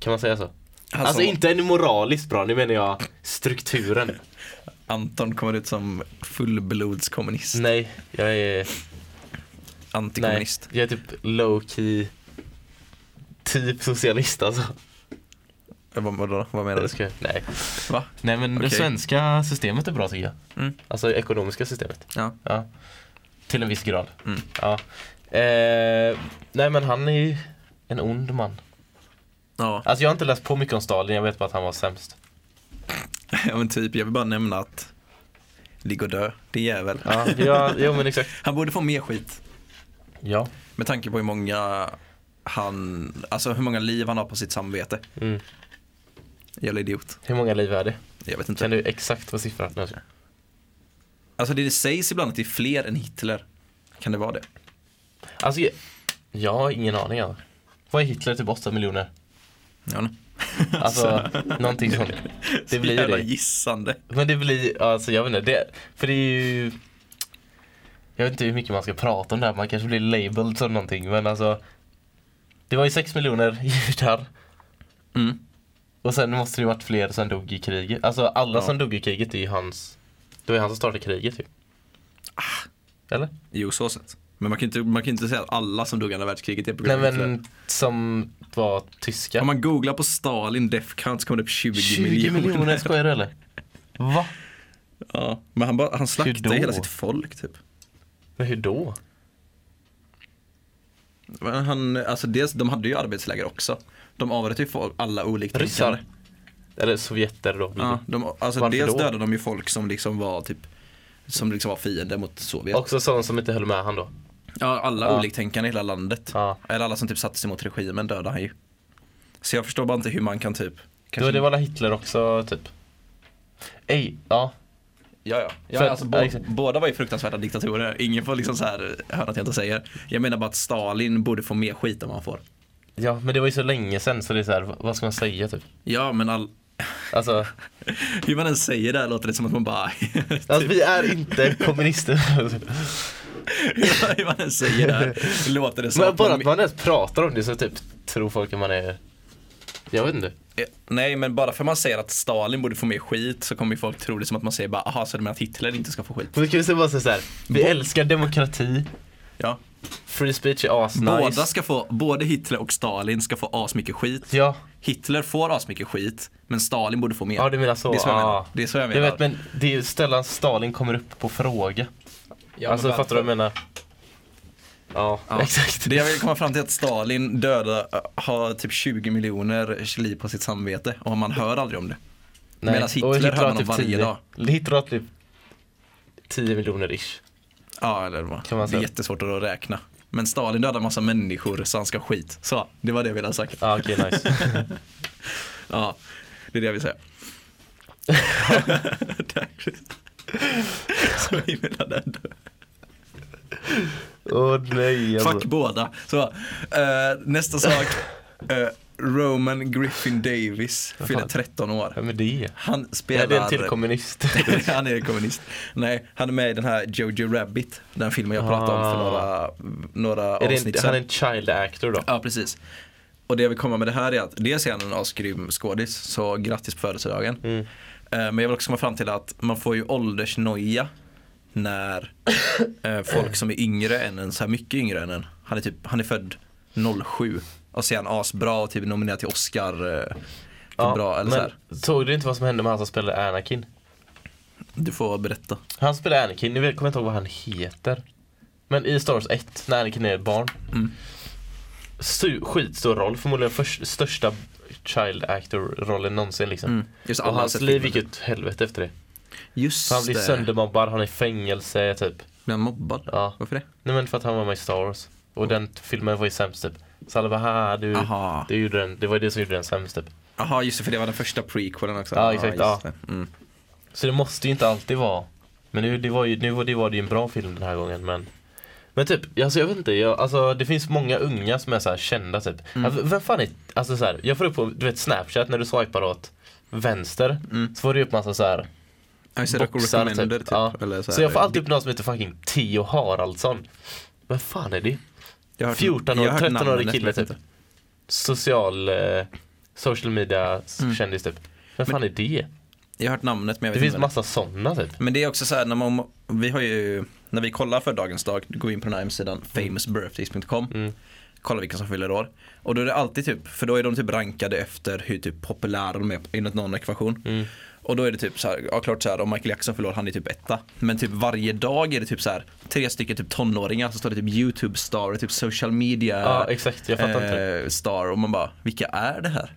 Speaker 2: Kan man säga så? Alltså, inte en moraliskt bra, nu menar jag <laughs> strukturen.
Speaker 1: Anton kommer ut som fullblodskommunist.
Speaker 2: Nej, jag är, nej,
Speaker 1: Antikommunist.
Speaker 2: jag är typ low key, typ socialist alltså.
Speaker 1: Eh, Vad, vadå? vad menar
Speaker 2: Nej,
Speaker 1: du?
Speaker 2: jag skojar. Nej.
Speaker 1: Va?
Speaker 2: Nej men
Speaker 1: Okej.
Speaker 2: det svenska systemet är bra tycker jag.
Speaker 1: Mm.
Speaker 2: Alltså det ekonomiska systemet.
Speaker 1: Ja.
Speaker 2: Ja. Till en viss grad.
Speaker 1: Mm.
Speaker 2: Ja. Eh, nej men han är ju en ond man.
Speaker 1: Ja.
Speaker 2: Alltså jag har inte läst på mycket om Stalin, jag vet bara att han var sämst.
Speaker 1: ja, men typ, jag vill bara nämna att ligg och dö, det är jävel.
Speaker 2: Ja, ja jo men exakt.
Speaker 1: <laughs> Han borde få mer skit.
Speaker 2: Ja.
Speaker 1: Med tanke på hur många han, alltså hur många liv han har på sitt samvete.
Speaker 2: Mm.
Speaker 1: Jävla idiot.
Speaker 2: Hur många liv är det?
Speaker 1: Jag vet
Speaker 2: Kan
Speaker 1: inte.
Speaker 2: du exakt vad siffran är?
Speaker 1: Alltså det sägs ibland att det är fler än Hitler. Kan det vara det?
Speaker 2: Alltså, jag, jag har ingen aning. Alltså. Vad är Hitler typ 8 miljoner?
Speaker 1: Ja, nej.
Speaker 2: Alltså, någonting sånt. Det blir
Speaker 1: Så jävla
Speaker 2: det.
Speaker 1: gissande.
Speaker 2: Men det blir, alltså jag vet inte, det, för det är ju Jag vet inte hur mycket man ska prata om det här, man kanske blir labeled som någonting men alltså Det var ju 6 miljoner <laughs> judar
Speaker 1: Mm.
Speaker 2: och sen måste det ju varit fler som dog i kriget. Alltså alla
Speaker 1: Ja.
Speaker 2: som dog i kriget är ju hans Det var ju han som startade kriget ju.
Speaker 1: Ah.
Speaker 2: Eller?
Speaker 1: Jo, så sett. Men man kan ju inte, man kan ju inte säga att alla som dog i andra världskriget är på
Speaker 2: Nej
Speaker 1: grund av Hitler.
Speaker 2: men som var tyska.
Speaker 1: Om man googlar på Stalin death count så kommer det upp 20,
Speaker 2: 20 miljoner,
Speaker 1: miljoner.
Speaker 2: skojar du eller? Va?
Speaker 1: Ja, men han, bara, han
Speaker 2: Hur då?
Speaker 1: slaktade hela sitt folk typ.
Speaker 2: Men hur då?
Speaker 1: Men han, alltså dels, de hade ju arbetsläger också. De avrättade ju folk, alla olikt
Speaker 2: Ryssar? Eller sovjeter då? blir det.
Speaker 1: Ja, de, alltså
Speaker 2: Varför
Speaker 1: dels
Speaker 2: då?
Speaker 1: dödade de ju folk som liksom var typ som liksom var fiender mot Sovjet.
Speaker 2: Också sådana som inte höll med han då?
Speaker 1: ja, alla
Speaker 2: Ja.
Speaker 1: oliktänkande i hela landet.
Speaker 2: Ja.
Speaker 1: Eller alla som typ satte sig mot regimen dödade han ju. Så jag förstår bara inte hur man kan typ
Speaker 2: Kanske... Det var väl Hitler också typ? Ej, ja.
Speaker 1: Ja, ja. ja
Speaker 2: För att-
Speaker 1: alltså,
Speaker 2: ja,
Speaker 1: bo,
Speaker 2: exakt.
Speaker 1: båda var ju fruktansvärda diktatorer. Ingen får liksom så här höra att jag inte säger. Jag menar bara att Stalin borde få mer skit än vad han får.
Speaker 2: Ja, men det var ju så länge sedan så det är så här, v- vad ska man säga typ?
Speaker 1: Ja, men all... <laughs>
Speaker 2: Alltså,
Speaker 1: hur man än säger det här låter det som att man bara... <laughs>
Speaker 2: alltså vi är <laughs> inte kommunister.
Speaker 1: hur man än säger det
Speaker 2: <laughs>
Speaker 1: här låter det som
Speaker 2: men
Speaker 1: att
Speaker 2: bara
Speaker 1: man...
Speaker 2: att man ens pratar om det så typ tror folk att man är, jag vet inte.
Speaker 1: Eh, Nej, men bara för man säger att Stalin borde få mer skit så kommer ju folk tro det som att man säger bara aha, så du menar att Hitler inte ska få skit?
Speaker 2: Men vi kan vi bara säga så här, vi älskar demokrati,
Speaker 1: Ja.
Speaker 2: free speech är asnice.
Speaker 1: Båda ska få, både Hitler och Stalin ska få asmycket skit.
Speaker 2: Ja,
Speaker 1: Hitler får asmycket skit, men Stalin borde få mer.
Speaker 2: ja du menar så.
Speaker 1: Det är så jag menar.
Speaker 2: ja.
Speaker 1: Det är så jag
Speaker 2: Jag
Speaker 1: menar.
Speaker 2: vet men det är ju sällan Stalin kommer upp på fråga.
Speaker 1: Ja, men
Speaker 2: alltså fattar du vad
Speaker 1: varför?
Speaker 2: jag menar? Ja,
Speaker 1: Ja.
Speaker 2: exakt.
Speaker 1: Det jag vill komma fram till är att Stalin döda har typ 20 miljoner liv på sitt samvete och man hör aldrig om det.
Speaker 2: Nej.
Speaker 1: Medan Hitler
Speaker 2: Och typ
Speaker 1: hör man
Speaker 2: har
Speaker 1: om varje
Speaker 2: 10.
Speaker 1: dag.
Speaker 2: Hitler har typ 10 miljoner ish.
Speaker 1: Ja, eller vad?
Speaker 2: Kan man
Speaker 1: det är
Speaker 2: säga.
Speaker 1: jättesvårt att räkna. Men Stalin dödar massa människor så han ska ha skit. Så, det var det jag ville ha sagt.
Speaker 2: Ja ah, okej nice.
Speaker 1: Ja, det är det jag vill säga. <laughs> Tack. så himla nöjd.
Speaker 2: <laughs> Åh oh, nej
Speaker 1: Fuck båda. Så, eh, nästa
Speaker 2: <laughs>
Speaker 1: sak. Eh, Roman Griffin Davis fyller
Speaker 2: fan?
Speaker 1: 13 år.
Speaker 2: Vem är det?
Speaker 1: Han spelar...
Speaker 2: Nej det är en till kommunist.
Speaker 1: <laughs>
Speaker 2: <laughs>
Speaker 1: han är kommunist. Nej, han är med i den här Jojo Rabbit, den filmen jag pratade om för några, några
Speaker 2: Ah. är det
Speaker 1: avsnitt
Speaker 2: en, han är
Speaker 1: sedan.
Speaker 2: en child actor då?
Speaker 1: Ja, precis. Och det jag vill komma med det här är att dels är han en asgrym skådis, så grattis på födelsedagen.
Speaker 2: Mm.
Speaker 1: Eh, Men jag vill också komma fram till att man får ju åldersnoja när eh, folk som är yngre än en, så här mycket yngre än en, han är, typ, han är född 07 och så är han asbra och typ nominerad till Oscar. eh, för bra, eller så här.
Speaker 2: men såg du inte vad som hände med han som spelade Anakin?
Speaker 1: Du får berätta.
Speaker 2: Han spelade Anakin, nu vet- kommer jag inte ihåg vad han heter. Men i Star Wars 1, när Anakin är ett barn.
Speaker 1: Mm.
Speaker 2: Su- skitstor roll, förmodligen först, största child actor-rollen någonsin liksom.
Speaker 1: Mm. Just
Speaker 2: Och
Speaker 1: alla
Speaker 2: hans
Speaker 1: sett
Speaker 2: liv
Speaker 1: filmen. typ.
Speaker 2: gick ut helvete efter det.
Speaker 1: Just
Speaker 2: Han blir
Speaker 1: det.
Speaker 2: söndermobbad, han är i fängelse typ.
Speaker 1: Blir han mobbad?
Speaker 2: Ja.
Speaker 1: Varför det?
Speaker 2: Nej men för att han var med i Star Wars. Och den filmen var ju sämst typ. Så alla bara "Haha, du,
Speaker 1: Aha.
Speaker 2: det, gjorde den, det var det som gjorde den sämst typ.
Speaker 1: Jaha, just det, för det var den första prequelen också.
Speaker 2: Ja, exakt,
Speaker 1: just det. Mm.
Speaker 2: Så det måste ju inte alltid vara. Men nu, det var ju, nu var, det var det ju en bra film den här gången men. Men typ, alltså jag vet inte, jag, alltså, det finns många unga som är så här kända typ.
Speaker 1: Mm.
Speaker 2: Alltså, vem fan är, alltså så här, jag får upp på du vet snapchat när du swipar åt vänster.
Speaker 1: Mm.
Speaker 2: Så får du upp massa så här
Speaker 1: Ja, just det,
Speaker 2: boxar
Speaker 1: recommended,
Speaker 2: typ.
Speaker 1: typ.
Speaker 2: Ja.
Speaker 1: Eller
Speaker 2: så,
Speaker 1: så, här,
Speaker 2: jag får alltid upp någon som heter fucking Theo Haraldsson. Vem fan är det?
Speaker 1: jag har hört-
Speaker 2: 14
Speaker 1: jag
Speaker 2: år,
Speaker 1: har hört
Speaker 2: 13-årig
Speaker 1: namnet,
Speaker 2: kille
Speaker 1: men
Speaker 2: typ.
Speaker 1: inte.
Speaker 2: Social, eh, social media s- kändis typ. Vem fan är det?
Speaker 1: Mm. Jag har hört namnet men jag
Speaker 2: Det
Speaker 1: vet
Speaker 2: finns
Speaker 1: inte. vem
Speaker 2: massa sådana typ.
Speaker 1: det är. Men det är också så här, när man, vi har ju, när vi kollar för dagens dag, gå in på den här hemsidan
Speaker 2: Mm.
Speaker 1: famousbirthdays.com Kolla vilka som fyller år. Och då är det alltid typ, för då är de typ rankade efter hur typ populära de är enligt någon ekvation.
Speaker 2: Mm.
Speaker 1: Och då är det typ så här, ja klart så här, om Michael Jackson fyller år, han är typ etta. Men typ varje dag är det typ så här, tre stycken typ tonåringar så står det typ YouTube star och typ social media
Speaker 2: Ja exakt, jag fattar inte det.
Speaker 1: eh, star och man bara, vilka är det här?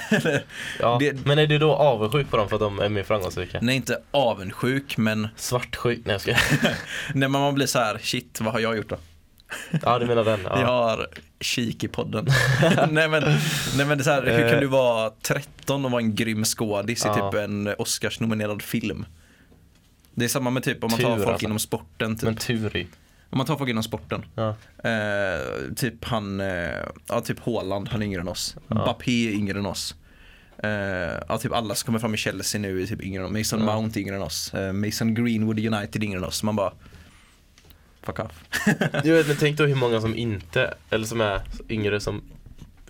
Speaker 1: <laughs>
Speaker 2: Ja.
Speaker 1: det-
Speaker 2: Men är du då avundsjuk på dem för att de är mer framgångsrika?
Speaker 1: Nej inte avundsjuk men <laughs>
Speaker 2: Svartsjuk? Nej jag ska.
Speaker 1: när man blir så här, shit vad har jag gjort då?
Speaker 2: Ja du menar den? Ja.
Speaker 1: Jag har kik i podden. <laughs> nej, men, nej men det är så här, hur kan du vara 13 och vara en grym skådis i
Speaker 2: Eh. Ja.
Speaker 1: typ en Oscars-nominerad film? Det är samma med typ om man tar
Speaker 2: Tur,
Speaker 1: folk
Speaker 2: alltså.
Speaker 1: inom sporten. Typ.
Speaker 2: Men tur i.
Speaker 1: Om man tar folk inom sporten.
Speaker 2: Ja.
Speaker 1: Eh, typ han, eh, ja typ Haaland, han är yngre än oss.
Speaker 2: Ja.
Speaker 1: Mbappé är yngre än oss. Eh, ja typ alla som kommer fram i Chelsea nu är typ yngre än oss. Mason
Speaker 2: Ja.
Speaker 1: Mount är yngre än oss. Eh, Mason Greenwood i United är yngre än oss. Man bara, fuck off.
Speaker 2: Jag vet, men tänk då hur många som inte, eller som är yngre som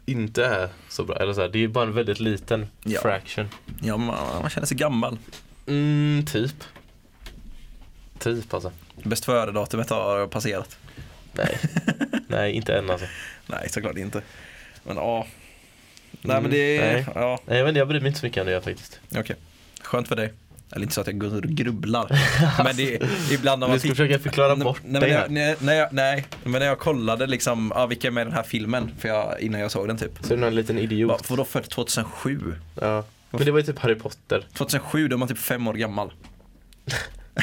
Speaker 2: inte är så bra. Eller så här, det är ju bara en väldigt liten
Speaker 1: Ja.
Speaker 2: fraction.
Speaker 1: Ja, man, man känner sig gammal.
Speaker 2: Mm, typ. Typ alltså.
Speaker 1: Bäst före-datumet har passerat.
Speaker 2: Nej. Nej, inte än alltså.
Speaker 1: Nej, såklart inte. Men ja. Nej
Speaker 2: Mm,
Speaker 1: men det är,
Speaker 2: nej.
Speaker 1: ja
Speaker 2: Nej, jag vet inte, jag bryr mig inte så mycket om det gör faktiskt.
Speaker 1: okej. Skönt för dig. Eller inte så att jag går och
Speaker 2: <laughs>
Speaker 1: grubblar. men det är, ibland när man
Speaker 2: Vi ska försöka förklara
Speaker 1: Nej,
Speaker 2: bort
Speaker 1: nej,
Speaker 2: det
Speaker 1: men
Speaker 2: här.
Speaker 1: jag, nej, nej, jag- nej, men när jag kollade liksom, ah, vilka är med i den här filmen? För jag, innan jag såg den typ.
Speaker 2: Så är det någon liten
Speaker 1: Bara,
Speaker 2: idiot.
Speaker 1: Vadå född 2007?
Speaker 2: Ja. Men det var ju typ Harry Potter.
Speaker 1: 2007 då är man typ fem år gammal.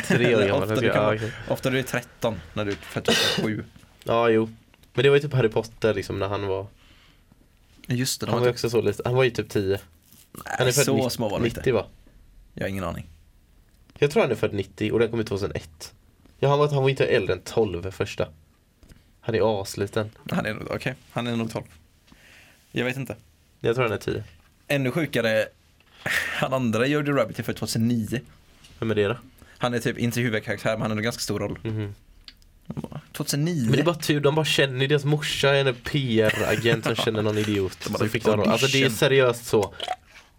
Speaker 2: Tre år
Speaker 1: <laughs> Eller
Speaker 2: gammal.
Speaker 1: ofta
Speaker 2: jag
Speaker 1: du
Speaker 2: tycker-
Speaker 1: kan
Speaker 2: Ja,
Speaker 1: vara-
Speaker 2: okej.
Speaker 1: Ofta du är 13 när du är född 2007.
Speaker 2: ja, jo. Men det var ju typ Harry Potter liksom när han var.
Speaker 1: Just det, de var
Speaker 2: Han var ju
Speaker 1: typ,
Speaker 2: också så lite. Han var ju typ 10. Han
Speaker 1: nej,
Speaker 2: är född
Speaker 1: så
Speaker 2: 90,
Speaker 1: små var de inte.
Speaker 2: 90 va?
Speaker 1: Jag har ingen aning.
Speaker 2: Jag tror han är född 90 och den kom ut 2001. Ja, han var, han var inte äldre än 12 första. Han är asliten.
Speaker 1: Han är, nog- okej, han är nog 12. Jag vet inte.
Speaker 2: Jag tror han är 10.
Speaker 1: Ännu sjukare, han andra Jodie Rabbit är född 2009.
Speaker 2: Vem är det då?
Speaker 1: Han är typ inte huvudkaraktär men han har en ganska stor roll.
Speaker 2: Mhm.
Speaker 1: Han bara, 2009?
Speaker 2: Men det är bara tur, de bara känner, deras morsa är en PR-agent som känner någon idiot.
Speaker 1: De bara
Speaker 2: som
Speaker 1: fick
Speaker 2: fick någon roll. alltså det är
Speaker 1: audition.
Speaker 2: seriöst så.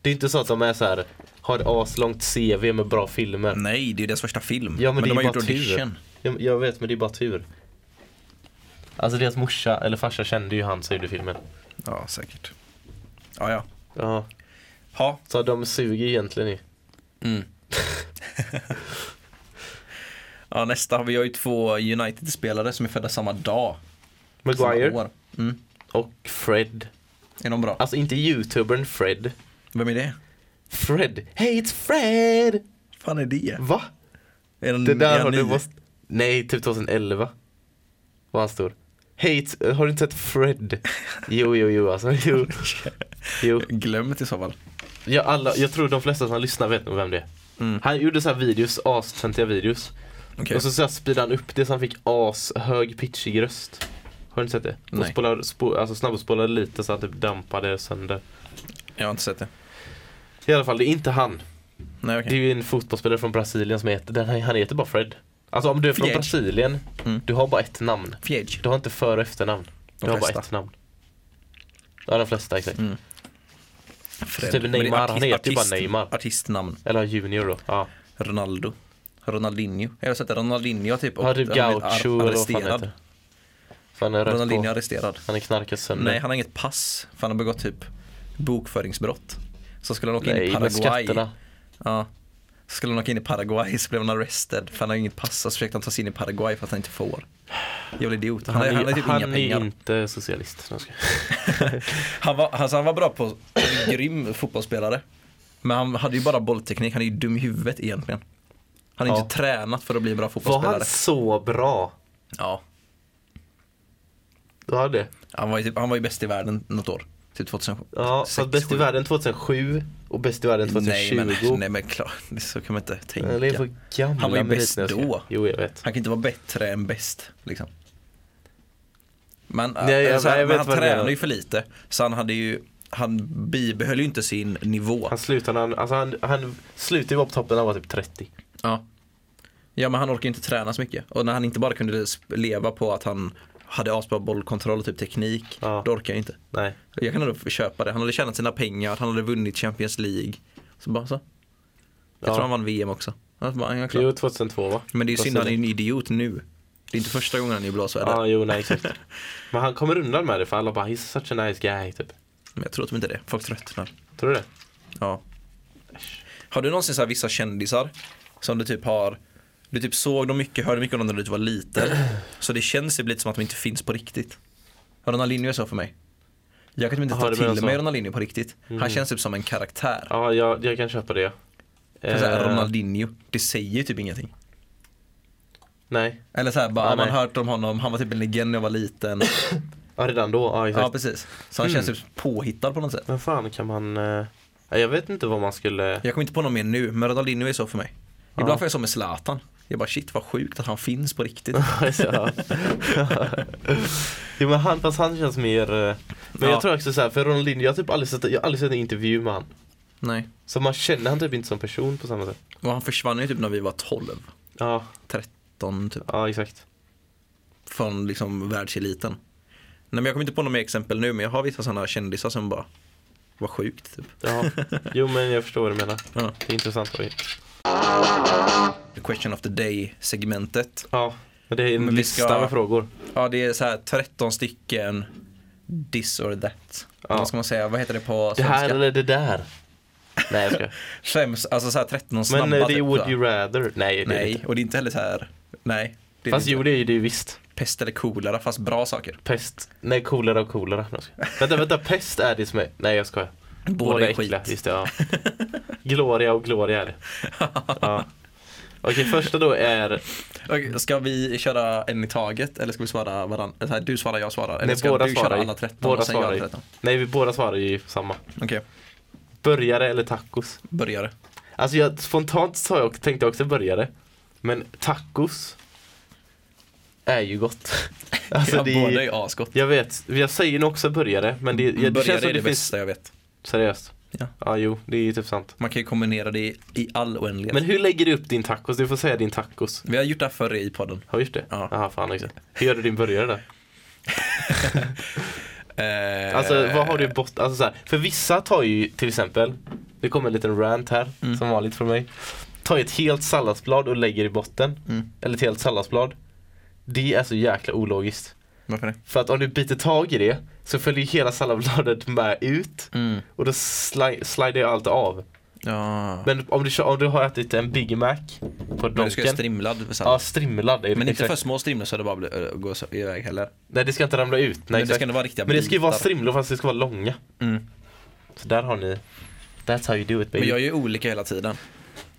Speaker 2: Det är inte så att de är så här, har ett aslångt CV med bra filmer.
Speaker 1: Nej, det är ju deras första film.
Speaker 2: Ja, men det
Speaker 1: de
Speaker 2: är
Speaker 1: har
Speaker 2: ju
Speaker 1: gjort
Speaker 2: bara tur.
Speaker 1: audition.
Speaker 2: Jag, jag vet men det är bara tur. Alltså deras morsa eller farsa kände ju han som gjorde filmen.
Speaker 1: Ja, säkert. Ja, ja.
Speaker 2: Ja,
Speaker 1: Ha.
Speaker 2: så de suger egentligen i.
Speaker 1: Ja, nästa har vi har ju två United-spelare som är födda samma dag. Samma
Speaker 2: Maguire
Speaker 1: år. Mm.
Speaker 2: och Fred.
Speaker 1: Är de bra?
Speaker 2: Alltså inte youtubern Fred.
Speaker 1: Vem är det?
Speaker 2: Fred. Hey it's Fred!
Speaker 1: fan är det?
Speaker 2: Va?
Speaker 1: Är den,
Speaker 2: Det
Speaker 1: är
Speaker 2: där
Speaker 1: han
Speaker 2: har du
Speaker 1: Mm, ny?
Speaker 2: måste... Nej, typ 2011. Var han stor. Hey it's... Har du inte sett Fred?
Speaker 1: <laughs>
Speaker 2: Jo, jo, jo alltså. Jo. jo.
Speaker 1: <laughs> Glömt i så fall.
Speaker 2: Ja, alla, jag tror de flesta som lyssnar vet nog vem det är.
Speaker 1: Mm.
Speaker 2: Han gjorde så här videos, astöntiga videos.
Speaker 1: Okej.
Speaker 2: Och så, så här speedade han upp det så han fick ashög pitchig röst. Har du inte sett det? Och
Speaker 1: Nej.
Speaker 2: spolade, spo, alltså snabbspolade lite så han typ dampade sönder.
Speaker 1: Jag har inte sett det.
Speaker 2: I alla fall, det är inte han.
Speaker 1: Nej, okej.
Speaker 2: Det är ju en fotbollsspelare från Brasilien som heter, den, här- han heter bara Fred. Alltså om du är från
Speaker 1: Fred.
Speaker 2: Brasilien,
Speaker 1: Mm.
Speaker 2: du har bara ett namn.
Speaker 1: Fjädj.
Speaker 2: Du har inte för och efternamn.
Speaker 1: De
Speaker 2: Du har bara
Speaker 1: flesta.
Speaker 2: ett namn. Ja, de flesta exakt.
Speaker 1: Mm.
Speaker 2: Typ Neymar, han heter ju bara Neymar.
Speaker 1: Artistnamn.
Speaker 2: Eller Junior då. Ja,
Speaker 1: Ronaldo. Ronaldinho. Jag har sett att Ronaldinho har typ,
Speaker 2: ja typ
Speaker 1: han har blivit ar-
Speaker 2: Gaucho eller vad fan
Speaker 1: arresterad.
Speaker 2: heter. Fan, han är rökt
Speaker 1: Ronaldinho är
Speaker 2: på.
Speaker 1: arresterad.
Speaker 2: Han är knarkat sönder.
Speaker 1: Nej, han har inget pass. För han har begått typ bokföringsbrott. Så skulle han åka in
Speaker 2: Nej,
Speaker 1: i
Speaker 2: med
Speaker 1: Paraguay.
Speaker 2: skatterna.
Speaker 1: Ja. Så skulle han åka in i Paraguay så blev han arrested för han har inget pass. Så försökte han ta sig in i Paraguay för att han inte får. Jävla idiot. Han,
Speaker 2: Han,
Speaker 1: har-
Speaker 2: är,
Speaker 1: han har typ
Speaker 2: han
Speaker 1: inga
Speaker 2: är
Speaker 1: pengar.
Speaker 2: inte socialist. Nej,
Speaker 1: <laughs> Han, var, alltså, han var bra på en grym fotbollsspelare. Men han hade ju bara bollteknik. Han är ju dum i huvudet egentligen. Han har
Speaker 2: Ja.
Speaker 1: inte tränat för att bli en bra
Speaker 2: Var
Speaker 1: fotbollsspelare.
Speaker 2: han så bra?
Speaker 1: Ja.
Speaker 2: Du hade det?
Speaker 1: Han var, ju typ, han var ju bäst i världen något år. Typ 2007.
Speaker 2: Ja, så
Speaker 1: Sex,
Speaker 2: bäst i
Speaker 1: sju.
Speaker 2: världen 2007 och bäst i världen
Speaker 1: Nej
Speaker 2: 2020.
Speaker 1: men, nej, men klart, Det- <laughs> så kan man inte tänka.
Speaker 2: Eller för gamla
Speaker 1: Han var ju
Speaker 2: meriter
Speaker 1: bäst
Speaker 2: jag ska-
Speaker 1: då.
Speaker 2: Jo, jag vet.
Speaker 1: Han kan inte vara bättre än bäst liksom. Men,
Speaker 2: Nej, jag-
Speaker 1: alltså,
Speaker 2: jag vet
Speaker 1: men han
Speaker 2: vad du
Speaker 1: tränade
Speaker 2: menar.
Speaker 1: ju för lite. Så han hade ju, han bibehöll ju inte sin nivå.
Speaker 2: Han slutade, han, alltså han, han slutade ju vara på toppen när han var typ 30.
Speaker 1: Ja. ja men han orkade ju inte träna så mycket. Och när han inte bara kunde sp- leva på att han hade asbra bollkontroll och typ teknik.
Speaker 2: Ja.
Speaker 1: Då orkade jag inte.
Speaker 2: Nej.
Speaker 1: Jag kan ändå köpa det. Han hade tjänat sina pengar, han hade vunnit Champions League. Så bara så. Jag
Speaker 2: Ja.
Speaker 1: tror han vann VM också. Jag bara, ja, klart.
Speaker 2: Jo, 2002 va?
Speaker 1: Men det är ju synd, han är ju
Speaker 2: Brasilien.
Speaker 1: en idiot nu. Det är inte första gången han är i blåsväder.
Speaker 2: Ja, jo, nej exakt.
Speaker 1: <laughs>
Speaker 2: Men han kommer undan med det för alla bara he's such a nice guy typ.
Speaker 1: Men jag tror att de inte är det. Folk tröttnar.
Speaker 2: Tror du det?
Speaker 1: Ja. Har du någonsin så här vissa kändisar som du typ har du typ såg dem mycket, hörde mycket om dem när du var liten. Så det känns typ lite som att de inte finns på riktigt. Ronaldinho är så för mig. Jag kan typ inte
Speaker 2: Jaha,
Speaker 1: ta
Speaker 2: du menar
Speaker 1: till
Speaker 2: så.
Speaker 1: mig Ronaldinho på riktigt. Han
Speaker 2: Mm.
Speaker 1: känns typ som en karaktär.
Speaker 2: Ja, jag, jag kan köpa det ja.
Speaker 1: För så här,
Speaker 2: Eh,
Speaker 1: Ronaldinho, det säger ju typ ingenting.
Speaker 2: Nej.
Speaker 1: Eller så här, bara,
Speaker 2: Ja,
Speaker 1: har man
Speaker 2: nej.
Speaker 1: hört om honom, han var typ en legend när jag var
Speaker 2: <laughs>
Speaker 1: liten.
Speaker 2: Ja, redan då. Ja, exakt.
Speaker 1: ja precis. Så han
Speaker 2: Mm.
Speaker 1: känns typ påhittad på något sätt.
Speaker 2: Men fan kan man... eh, Jag vet inte vad man skulle...
Speaker 1: Jag kommer inte på någon mer nu, men Ronaldinho är så för mig. Ibland får jag som med Zlatan. Jag bara shit vad sjukt att han finns på
Speaker 2: <laughs>
Speaker 1: riktigt.
Speaker 2: Ja. jo men han, fast han känns mer eh, Men
Speaker 1: Ja.
Speaker 2: jag tror också såhär, för Ronaldinho, jag har typ aldrig sett, jag har aldrig sett en intervju med han
Speaker 1: Nej.
Speaker 2: Så man känner han typ inte som person på samma sätt
Speaker 1: Och han försvann ju typ när vi var 12,
Speaker 2: Ja,
Speaker 1: 13 typ.
Speaker 2: ja exakt
Speaker 1: Från liksom världseliten. Nej men jag kommer inte på några mer exempel nu men jag har vissa sådana kändisar som bara, vad sjukt typ.
Speaker 2: ja. Jo men jag förstår vad du menar
Speaker 1: Ja.
Speaker 2: Det är intressant oj.
Speaker 1: The question of the day segmentet.
Speaker 2: Ja, men det är en
Speaker 1: Men vi
Speaker 2: lista
Speaker 1: ska-
Speaker 2: med frågor
Speaker 1: Ja det är så här 13 stycken this or that.
Speaker 2: Ja.
Speaker 1: Vad ska man säga, vad heter det på
Speaker 2: Det här
Speaker 1: svenska?
Speaker 2: eller det där?
Speaker 1: <laughs>
Speaker 2: Nej jag skojar
Speaker 1: Skäms, alltså så här 13 snabba
Speaker 2: Men eh, det är
Speaker 1: typ, va?
Speaker 2: would you rather Nej det är det
Speaker 1: Nej,
Speaker 2: inte
Speaker 1: och det är inte heller så här. Nej. Det är
Speaker 2: Fast
Speaker 1: det
Speaker 2: jo
Speaker 1: inte.
Speaker 2: det är det ju visst
Speaker 1: Pest eller kolera, fast bra saker.
Speaker 2: Pest, nej kolera och kolera Jag skojar. Vänta vänta, pest är det som är, nej jag skojar
Speaker 1: Båda är
Speaker 2: äckliga,
Speaker 1: skit.
Speaker 2: Just det, ja.
Speaker 1: <laughs>
Speaker 2: Gloria och Gloria är det. Ja. Okej, första då är
Speaker 1: Okej, ska vi köra en i taget eller ska vi svara varandra? Så här, du svarar, jag svarar. Eller
Speaker 2: Nej,
Speaker 1: ska
Speaker 2: båda
Speaker 1: du
Speaker 2: svarar
Speaker 1: köra
Speaker 2: ju.
Speaker 1: alla 13
Speaker 2: Båda
Speaker 1: och sen
Speaker 2: svarar
Speaker 1: jag
Speaker 2: ju.
Speaker 1: 13?
Speaker 2: Nej, vi båda svarar ju samma.
Speaker 1: Okej,
Speaker 2: Burgare eller tacos?
Speaker 1: börjare.
Speaker 2: Alltså jag, spontant sa jag, också- tänkte jag också burgare. Men tacos är ju gott. <laughs> Alltså
Speaker 1: ja,
Speaker 2: det
Speaker 1: Båda
Speaker 2: är,
Speaker 1: är asgott.
Speaker 2: jag vet, jag säger nog också burgare. Men det, jag, det
Speaker 1: börjare
Speaker 2: känns som
Speaker 1: är det
Speaker 2: det finns...
Speaker 1: bästa jag vet.
Speaker 2: Seriöst?
Speaker 1: Ja.
Speaker 2: ja, jo, det är ju typ sant.
Speaker 1: Man kan ju kombinera det i, i all oändlighet.
Speaker 2: Men hur lägger du upp din tacos? Du får säga din tacos.
Speaker 1: Vi har gjort det här förr i podden.
Speaker 2: Har vi gjort det?
Speaker 1: Ja.
Speaker 2: Aha, fan också. Hur gör du din burgare då?
Speaker 1: Eh,
Speaker 2: Alltså vad har du bort, alltså så här, för vissa tar ju till exempel, det kommer en liten rant här
Speaker 1: Mm.
Speaker 2: som vanligt från mig. Tar ju ett helt salladsblad och lägger i botten,
Speaker 1: Mm.
Speaker 2: eller ett helt salladsblad. Det är så jäkla ologiskt.
Speaker 1: Varför det?
Speaker 2: För att om du biter tag i det så följer ju hela salladsbladet med ut
Speaker 1: Mm.
Speaker 2: och då sli- slider ju allt av.
Speaker 1: Ja.
Speaker 2: Men om du, kör, om du har ätit en Big Mac på
Speaker 1: Men du ska
Speaker 2: Donken.
Speaker 1: ha strimlad för
Speaker 2: Ja,
Speaker 1: sallad.
Speaker 2: strimlad. är det,
Speaker 1: Men inte
Speaker 2: exakt.
Speaker 1: för små strimlor så det bara blir, äh, går så- iväg heller.
Speaker 2: Nej det ska inte ramla ut. Nej,
Speaker 1: Men det
Speaker 2: exakt.
Speaker 1: ska ändå vara riktiga
Speaker 2: Men det ska ju vara
Speaker 1: bitar.
Speaker 2: strimlor fast det ska vara långa.
Speaker 1: Mm.
Speaker 2: Så där har ni, that's how you do it baby.
Speaker 1: Men jag gör olika hela tiden.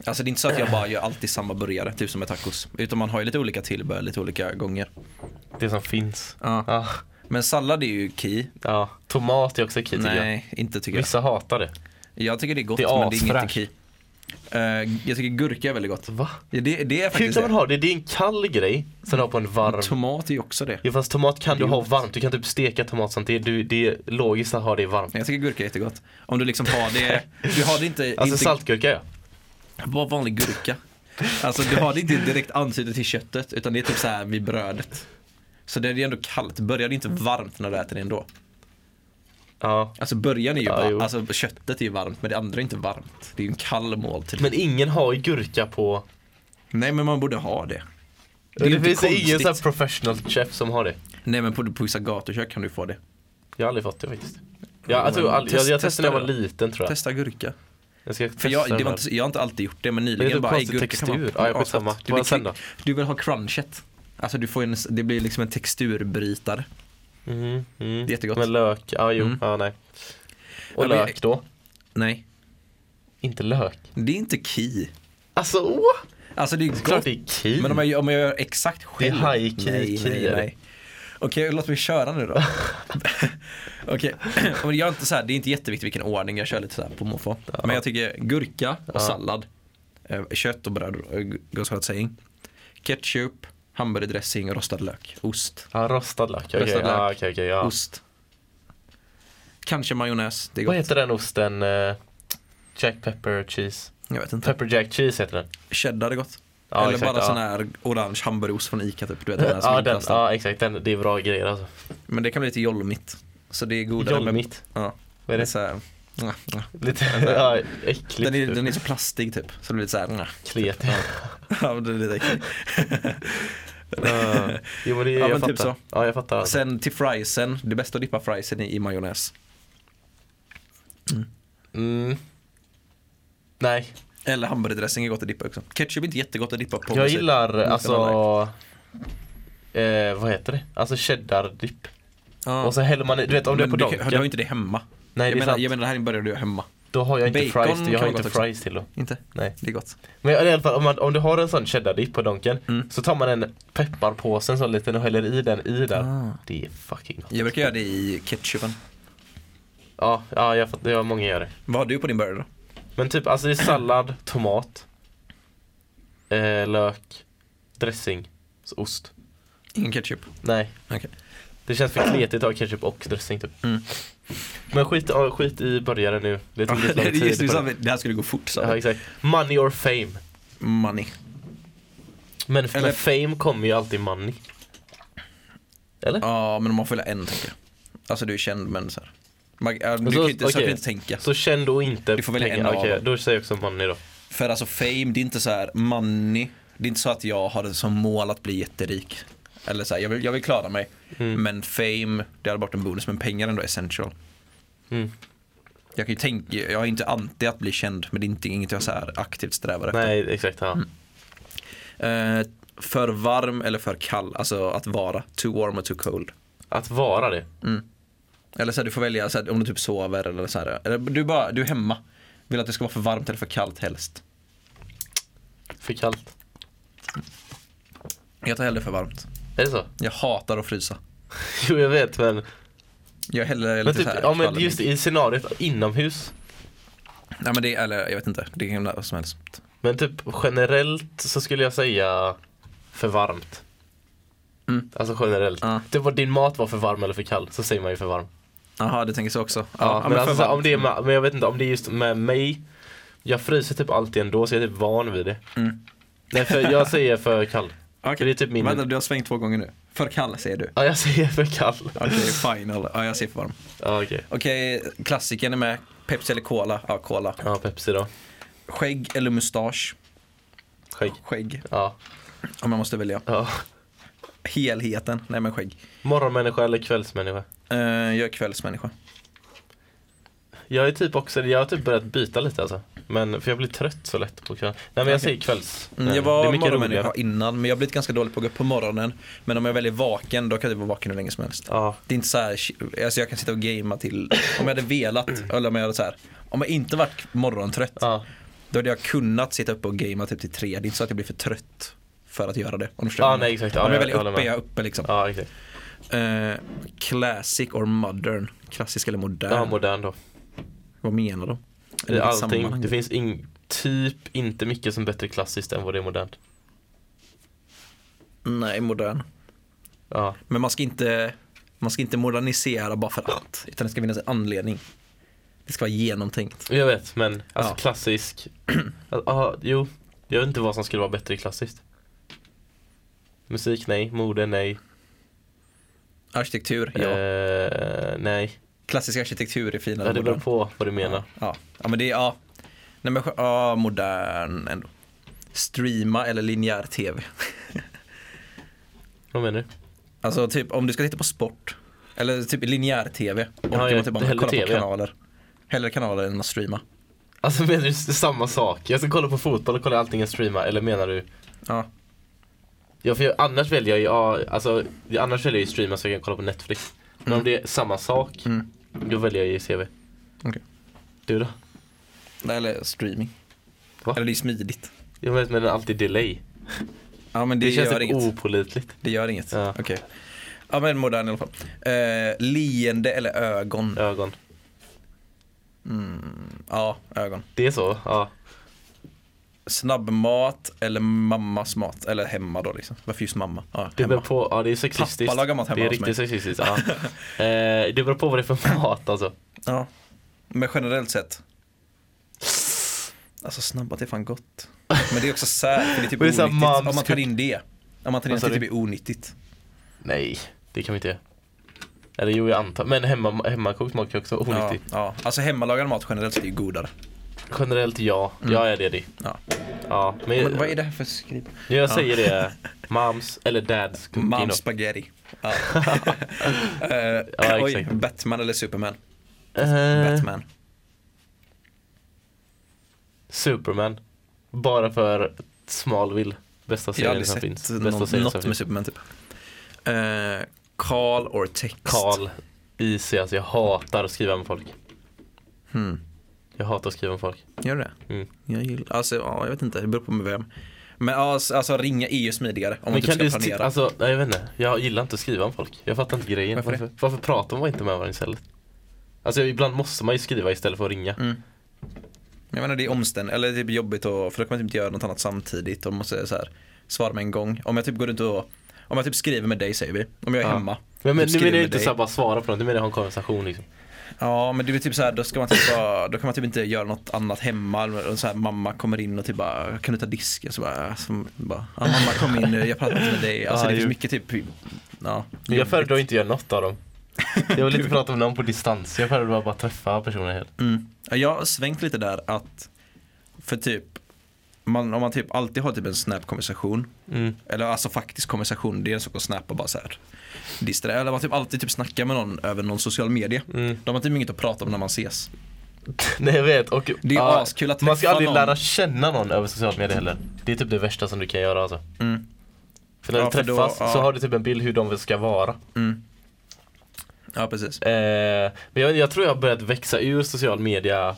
Speaker 1: Alltså det är inte så att jag bara gör alltid samma burgare, typ som med tacos. Utan man har ju lite olika tillbehör lite olika gånger.
Speaker 2: Det som finns.
Speaker 1: Ja.
Speaker 2: Ja.
Speaker 1: Men sallad är ju key.
Speaker 2: ja. Tomat är också key tycker jag.
Speaker 1: Nej, inte tycker jag.
Speaker 2: Vissa hatar det.
Speaker 1: Jag tycker det är gott
Speaker 2: Det är
Speaker 1: men det är inget
Speaker 2: asfräscht.
Speaker 1: key. Eh, jag tycker gurka är väldigt gott.
Speaker 2: Va?
Speaker 1: Ja, det, det är
Speaker 2: Hur
Speaker 1: faktiskt
Speaker 2: kan man
Speaker 1: det.
Speaker 2: ha det? Det är en kall grej som du har på en varm.
Speaker 1: Tomat är ju också det.
Speaker 2: Jo fast tomat kan du ha varmt. Du kan typ steka tomat sånt. Det är, du, det är logiskt att ha det varmt.
Speaker 1: Jag tycker gurka är jättegott. Om du liksom har det, du har det inte,
Speaker 2: Alltså
Speaker 1: inte
Speaker 2: saltgurka ja.
Speaker 1: bara vanlig gurka. Alltså du har det inte direkt antydet till köttet utan det är typ så här vid brödet. Så det är ju ändå kallt, börjar det inte varmt när du äter det ändå.
Speaker 2: ja.
Speaker 1: Alltså början är ju
Speaker 2: Ja, jo.
Speaker 1: varm, alltså köttet är ju varmt men det andra är inte varmt. Det är ju en kall måltid.
Speaker 2: Men ingen har ju gurka på...
Speaker 1: Nej men man borde ha det.
Speaker 2: Det,
Speaker 1: är ju
Speaker 2: det
Speaker 1: inte
Speaker 2: finns ju ingen
Speaker 1: konstigt.
Speaker 2: sån här professional chef som har det.
Speaker 1: Nej men på, på vissa gatukök kan du få det.
Speaker 2: Jag har aldrig fått det faktiskt. Jag, jag, tror
Speaker 1: Men
Speaker 2: aldrig, jag,
Speaker 1: test-
Speaker 2: jag testade när jag var
Speaker 1: testa det
Speaker 2: liten tror jag.
Speaker 1: Testa gurka.
Speaker 2: Jag ska testa
Speaker 1: För jag, det
Speaker 2: den
Speaker 1: var
Speaker 2: här.
Speaker 1: inte, jag har inte alltid gjort det men
Speaker 2: Det är
Speaker 1: nyligen
Speaker 2: typ
Speaker 1: bara, "Ey,
Speaker 2: konstig
Speaker 1: gurka kan man
Speaker 2: textur.
Speaker 1: ha."
Speaker 2: Ja,
Speaker 1: Ja,
Speaker 2: jag skitsamma.
Speaker 1: asfett. Du,
Speaker 2: Vad
Speaker 1: vill
Speaker 2: sen då?
Speaker 1: kli- du vill ha crunchet. Alltså du får en, det blir liksom en texturbrytare.
Speaker 2: Mm, mm.
Speaker 1: Jättegott.
Speaker 2: Med lök, ja jo,
Speaker 1: Mm.
Speaker 2: ja nej. Och
Speaker 1: Ja, men-
Speaker 2: lök då?
Speaker 1: Nej,
Speaker 2: Inte lök.
Speaker 1: det är inte key.
Speaker 2: Alltså åh!
Speaker 1: Alltså det är
Speaker 2: Klart
Speaker 1: gott
Speaker 2: det är key.
Speaker 1: Men om jag, om jag gör exakt själv?
Speaker 2: Det är high key,
Speaker 1: nej,
Speaker 2: key är
Speaker 1: nej,
Speaker 2: det.
Speaker 1: nej. Okej, låt mig köra nu
Speaker 2: <laughs>
Speaker 1: då. Okej, <clears throat> men jag är inte så här, det är inte jätteviktigt vilken ordning jag kör lite så här på måfå. Men jag tycker gurka och sallad, eh, kött och bröd, eh, goes without saying. Ketchup, hamburgardressing, rostad lök, ost.
Speaker 2: Ja, rostad lök. Okej,
Speaker 1: Rostad
Speaker 2: ja,
Speaker 1: lök.
Speaker 2: okej, okej, ja.
Speaker 1: Ost. Kanske majonnäs, det är
Speaker 2: Vad
Speaker 1: gott.
Speaker 2: heter den osten? eh, Jack pepper cheese.
Speaker 1: Jag vet inte.
Speaker 2: Pepper jack cheese heter den.
Speaker 1: Cheddar är gott.
Speaker 2: Ja,
Speaker 1: Eller
Speaker 2: exakt,
Speaker 1: bara
Speaker 2: ja.
Speaker 1: sån här orange hamburgerost från ICA typ. Du vet den här som
Speaker 2: <laughs> Ja,
Speaker 1: är
Speaker 2: den,
Speaker 1: inplastad.
Speaker 2: ja exakt, den, det är bra grejer alltså.
Speaker 1: Men det kan bli lite jolmigt. Så det är godare med-
Speaker 2: Jolmit.
Speaker 1: Ja.
Speaker 2: Vad är
Speaker 1: <laughs>
Speaker 2: det?
Speaker 1: Så här, ja, ja.
Speaker 2: Lite <laughs> ja, äckligt.
Speaker 1: den, är,
Speaker 2: typ.
Speaker 1: den är så plastig typ, så det blir lite såhär, ja, <laughs>
Speaker 2: Klet.
Speaker 1: ja, men det är lite äckligt.
Speaker 2: Ja. jo men det,
Speaker 1: Ja,
Speaker 2: jag
Speaker 1: men
Speaker 2: fattar.
Speaker 1: typ så.
Speaker 2: Ja jag fattar. Alltså.
Speaker 1: Sen till friesen, det är bäst att dippa friesen i, i majonnäs.
Speaker 2: Mm. Nej,
Speaker 1: Eller hamburgardressing är gott att dippa också. Ketchup är inte jättegott att dippa på. Mm,
Speaker 2: jag
Speaker 1: sig.
Speaker 2: gillar
Speaker 1: Lite
Speaker 2: alltså
Speaker 1: annorlunda.
Speaker 2: eh, vad heter det? Alltså cheddar-dipp.
Speaker 1: Ja.
Speaker 2: Och så häller man i- du vet om det är
Speaker 1: Men
Speaker 2: på
Speaker 1: du, kan- du har ju
Speaker 2: donken.
Speaker 1: inte det hemma.
Speaker 2: Nej
Speaker 1: jag,
Speaker 2: det är
Speaker 1: menar,
Speaker 2: sant.
Speaker 1: jag menar det här börjar du göra hemma.
Speaker 2: Då har jag inte
Speaker 1: Bacon
Speaker 2: fries, till-
Speaker 1: kan
Speaker 2: jag har
Speaker 1: vara
Speaker 2: inte
Speaker 1: gott också.
Speaker 2: fries till då.
Speaker 1: Inte?
Speaker 2: Nej.
Speaker 1: Det är gott.
Speaker 2: Men i alla fall om, man, om du har en sån cheddar-dipp på donken
Speaker 1: Mm.
Speaker 2: så tar man en pepparpåse, en sån liten och häller i den i där.
Speaker 1: Ah.
Speaker 2: Det är fucking gott.
Speaker 1: Jag brukar göra det i ketchupen.
Speaker 2: Ja, ja jag fattar, ja, många gör det.
Speaker 1: Vad har du på din burgare då? <laughs>
Speaker 2: Men typ alltså det är sallad, tomat. eh, lök, dressing, så ost.
Speaker 1: Ingen ketchup.
Speaker 2: Nej.
Speaker 1: Okej.
Speaker 2: Det känns för kletigt att ha ketchup och dressing typ.
Speaker 1: Mm.
Speaker 2: Men skit, ja, skit i börjaren nu. Det tog lite lång
Speaker 1: Just <laughs> det,
Speaker 2: tid.
Speaker 1: vi
Speaker 2: på
Speaker 1: sa
Speaker 2: det.
Speaker 1: att det här skulle gå fort sa
Speaker 2: Ja,
Speaker 1: vi.
Speaker 2: exakt. Money or fame.
Speaker 1: Money.
Speaker 2: Men f-
Speaker 1: Eller-
Speaker 2: med fame kommer ju alltid money. Eller?
Speaker 1: Ja, men om man får välja en tänker jag. Alltså du är känd men så här. Man, ja, du
Speaker 2: Men så-
Speaker 1: kan ju inte, så kan
Speaker 2: okej.
Speaker 1: du inte tänka.
Speaker 2: Så känn då inte
Speaker 1: Du får välja
Speaker 2: pengarna.
Speaker 1: en av
Speaker 2: Okej,
Speaker 1: dem.
Speaker 2: då säger jag också money då.
Speaker 1: För alltså fame, det är inte så här money. Det är inte så att jag har det som mål att bli jätterik. Eller så här, jag vill, jag vill klara mig.
Speaker 2: Mm.
Speaker 1: Men fame, det hade varit en bonus. Men pengar är ändå essential.
Speaker 2: Mm.
Speaker 1: Jag kan ju tänka, jag är inte anti att bli känd. Men det är inte, inget jag så här aktivt strävar efter.
Speaker 2: Nej, exakt. Ja.
Speaker 1: Eh, för varm eller för kall, alltså att vara. Too warm or too cold.
Speaker 2: Att vara det.
Speaker 1: Eller så här, du får välja så här, om du typ sover eller så här. Eller du, bara, du är hemma. Vill att det ska vara för varmt eller för kallt helst.
Speaker 2: För kallt.
Speaker 1: Jag tar hellre för varmt.
Speaker 2: Är det så? <laughs>
Speaker 1: Jag hatar att frysa.
Speaker 2: Jo, jag vet men.
Speaker 1: Jag är hellre
Speaker 2: Men
Speaker 1: lite
Speaker 2: typ,
Speaker 1: så här,
Speaker 2: ja, men
Speaker 1: kall än
Speaker 2: just i scenariot inomhus.
Speaker 1: Nej men det, eller jag vet inte, det kan himla vad som helst.
Speaker 2: Men typ generellt så skulle jag säga för varmt.
Speaker 1: Mm.
Speaker 2: Alltså generellt.
Speaker 1: Ja.
Speaker 2: Typ om din mat var för varm eller för kall så säger man ju för varm.
Speaker 1: Jaha, du tänker så också? Ja,
Speaker 2: Ja, men,
Speaker 1: för
Speaker 2: alltså, så här,
Speaker 1: varmt.
Speaker 2: om det är med, men jag vet inte om det är just med mig. Jag fryser typ alltid ändå så jag är typ van vid det.
Speaker 1: Mm.
Speaker 2: Nej, för jag säger för kall. För det är typ min...
Speaker 1: Vänta, du har svängt två gånger nu. För kall säger du.
Speaker 2: Ja, jag säger för kall.
Speaker 1: Okej,
Speaker 2: <laughs>
Speaker 1: final. Ja, jag ser för varm.
Speaker 2: Ja, okej.
Speaker 1: Okej, klassikern är med. Pepsi eller Cola? Ja, Cola.
Speaker 2: Ja, Pepsi då.
Speaker 1: Skägg eller mustasch?
Speaker 2: Skägg.
Speaker 1: Skägg,
Speaker 2: Ja.
Speaker 1: om jag måste välja.
Speaker 2: ja.
Speaker 1: Helheten? Nej men skägg.
Speaker 2: Morgonmänniska eller kvällsmänniska?
Speaker 1: Eh, jag är kvällsmänniska.
Speaker 2: Jag är typ också, jag har typ börjat byta lite alltså. Men, för jag blir trött så lätt på kvällen. Nej men jag säger kvälls.
Speaker 1: Mm, jag
Speaker 2: det är
Speaker 1: var
Speaker 2: mycket
Speaker 1: morgonmänniska
Speaker 2: roligare.
Speaker 1: innan, men jag har blivit ganska dålig på att gå upp på morgonen. Men om jag väljer vaken, då kan jag typ vara vaken hur länge som helst.
Speaker 2: Ja.
Speaker 1: Det är inte så här, alltså jag kan sitta och gamea till, om jag hade velat, eller om jag hade så här, om jag inte varit morgontrött,
Speaker 2: ja.
Speaker 1: då hade jag kunnat sitta uppe och gamea typ till tre. Det är inte så att jag blir för trött för att göra det. Om du förstår
Speaker 2: Ja,
Speaker 1: vad jag menar.
Speaker 2: nej, exakt. Ja,
Speaker 1: om jag
Speaker 2: jag-
Speaker 1: väljer
Speaker 2: jag håller
Speaker 1: uppe, är
Speaker 2: med.
Speaker 1: jag uppe liksom.
Speaker 2: Ja, exakt.
Speaker 1: Eh, classic or modern? Klassisk eller modern?
Speaker 2: Ja, modern då.
Speaker 1: vad menar de?
Speaker 2: Det är
Speaker 1: Vilket
Speaker 2: allting.
Speaker 1: sammanhang?
Speaker 2: Det finns ing, typ inte mycket som är bättre klassiskt än vad det är modernt.
Speaker 1: Nej, modern.
Speaker 2: Ja,
Speaker 1: Men man ska inte, man ska inte modernisera bara för att. Utan det ska finnas en anledning. Det ska vara genomtänkt.
Speaker 2: jag vet men alltså
Speaker 1: Ja. <clears throat>
Speaker 2: klassisk. Ja, ah, jo, jag vet inte vad som skulle vara bättre klassiskt. Musik nej, mode nej,
Speaker 1: Arkitektur, ja.
Speaker 2: eh, nej.
Speaker 1: Klassisk arkitektur är finare
Speaker 2: Ja,
Speaker 1: än
Speaker 2: det beror
Speaker 1: modern.
Speaker 2: på vad du menar.
Speaker 1: Ja. ja, men det är, ja. Nej men, ja, modern ändå. Streama eller linjär tv.
Speaker 2: Vad menar du?
Speaker 1: Alltså typ om du ska titta på sport. Eller typ linjär tv. Och
Speaker 2: Ja,
Speaker 1: ja,
Speaker 2: jag-
Speaker 1: typ om
Speaker 2: hellre
Speaker 1: kolla på
Speaker 2: TV, ja.
Speaker 1: kanaler. Hellre kanaler än att streama.
Speaker 2: Alltså menar du s- samma sak? Jag ska kolla på fotboll och kolla allting jag streamar eller menar du?
Speaker 1: Ja,
Speaker 2: Ja för jag, annars väljer jag ju, ja, alltså ja, annars väljer jag ju streama så jag kan kolla på Netflix. Men om det är samma sak,
Speaker 1: Mm.
Speaker 2: då väljer jag ju CV.
Speaker 1: okej.
Speaker 2: Du då?
Speaker 1: Nej, Eller streaming.
Speaker 2: Va?
Speaker 1: Eller det är smidigt.
Speaker 2: Jag vet men alltid delay.
Speaker 1: Ja men
Speaker 2: Det,
Speaker 1: det,
Speaker 2: känns
Speaker 1: gör
Speaker 2: typ
Speaker 1: inget.
Speaker 2: opålitligt.
Speaker 1: Det gör inget.
Speaker 2: Ja.
Speaker 1: Okej. Ja men modern i alla fall. Eh, leende eller ögon? Ja,
Speaker 2: Ögon.
Speaker 1: ögon.
Speaker 2: Det är så? Ja.
Speaker 1: Snabbmat eller mammas mat? Eller hemma då liksom. Varför just mamma? Ja,
Speaker 2: Det beror
Speaker 1: hemma.
Speaker 2: på, ja det är sexistiskt.
Speaker 1: Pappa lagar mat hemma
Speaker 2: Det är
Speaker 1: hos
Speaker 2: riktigt sexistiskt,
Speaker 1: <laughs>
Speaker 2: ja. eh, det beror på vad det är för mat alltså.
Speaker 1: Ja. Men generellt sett. Alltså snabbmat är fan gott. Men det är också sär, för det
Speaker 2: <laughs>
Speaker 1: är typ
Speaker 2: Men det är så här
Speaker 1: onyttigt. Om man
Speaker 2: mamskook.
Speaker 1: tar in det. Om man tar in det,
Speaker 2: Vad sa
Speaker 1: det är
Speaker 2: du?
Speaker 1: typ onyttigt.
Speaker 2: Nej, det kan vi inte göra. Eller jo jag antar, men hemma, hemmakokt mat kan också vara
Speaker 1: Ja,
Speaker 2: onyttigt.
Speaker 1: ja. Alltså hemmalagad mat generellt sett är ju godare.
Speaker 2: Generellt ja, ja är det det.
Speaker 1: Mm. Ja.
Speaker 2: Ja, men,
Speaker 1: Men vad är det här för skriv?
Speaker 2: Jag säger
Speaker 1: <laughs>
Speaker 2: det, moms eller dads cooking
Speaker 1: Mom
Speaker 2: då.
Speaker 1: spaghetti. Ja.
Speaker 2: Ja,
Speaker 1: Eh, Oj,
Speaker 2: exakt.
Speaker 1: Batman eller Superman?
Speaker 2: Eh,
Speaker 1: Batman.
Speaker 2: Superman. Bara för Smallville. Bästa
Speaker 1: Jag har
Speaker 2: serien
Speaker 1: aldrig
Speaker 2: som
Speaker 1: sett
Speaker 2: finns. Bästa
Speaker 1: någon,
Speaker 2: serien
Speaker 1: något
Speaker 2: som
Speaker 1: med
Speaker 2: finns.
Speaker 1: Superman typ. Eh, Call or text?
Speaker 2: Karl Easy, alltså jag hatar att skriva med folk.
Speaker 1: Hmm.
Speaker 2: Jag hatar att skriva med folk.
Speaker 1: Gör du det?
Speaker 2: Mm.
Speaker 1: Jag gillar, alltså ja, jag vet inte, det beror på med vem. Men ja, alltså alltså, ringa är ju smidigare om man
Speaker 2: Men
Speaker 1: typ
Speaker 2: kan
Speaker 1: ska
Speaker 2: du,
Speaker 1: planera.
Speaker 2: sti- alltså, nej, jag vet inte. Jag gillar inte att skriva med folk. Jag fattar inte grejen.
Speaker 1: Varför det?
Speaker 2: varför, varför pratar man inte med varandra istället? Alltså ibland måste man ju skriva istället för att ringa.
Speaker 1: Mm. Jag menar det är omständigt, eller det är jobbigt och, för då kan man typ inte göra något annat samtidigt och måste så här, svara med en gång. Om jag typ går runt och, om jag typ skriver med dig säger vi, om jag är
Speaker 2: Ja.
Speaker 1: hemma.
Speaker 2: Men, men
Speaker 1: typ
Speaker 2: nu
Speaker 1: skriver
Speaker 2: menar jag
Speaker 1: med
Speaker 2: inte
Speaker 1: dig.
Speaker 2: så här bara svara på något, nu menar jag ha en konversation liksom.
Speaker 1: Ja men det är typ så här, då ska man typ bara, då kan man typ inte göra något annat hemma. Eller Så här, mamma kommer in och typ bara, kan du ta disken? Så bara, som, bara ja, mamma kom in nu, jag pratar inte med dig. Alltså
Speaker 2: Ja,
Speaker 1: det
Speaker 2: ju.
Speaker 1: finns mycket typ, ja.
Speaker 2: Jag föredrar inte göra något av dem. Jag vill inte prata med någon på distans, jag föredrar bara träffa personer helt.
Speaker 1: Mm. Ja, Jag har svängt lite där att, för typ, man, om man typ alltid har typ en snap-konversation
Speaker 2: Mm.
Speaker 1: Eller alltså faktisk konversation, det är en sak att snappa bara så här. Distra. Eller man typ alltid typ snackar med någon över någon social media.
Speaker 2: Mm.
Speaker 1: De har typ inget att prata om när man ses.
Speaker 2: <laughs> Nej jag vet, och
Speaker 1: Det är
Speaker 2: ja,
Speaker 1: askul att
Speaker 2: man ska
Speaker 1: träffa
Speaker 2: aldrig
Speaker 1: någon.
Speaker 2: lära känna någon över sociala medier heller. Det är typ det värsta som du kan göra alltså.
Speaker 1: Mm.
Speaker 2: För när
Speaker 1: Ja,
Speaker 2: du
Speaker 1: för då-
Speaker 2: träffas så
Speaker 1: ja.
Speaker 2: har du typ en bild hur de ska vara.
Speaker 1: Mm. Ja precis.
Speaker 2: Eh, men jag, jag tror jag har börjat växa ur social media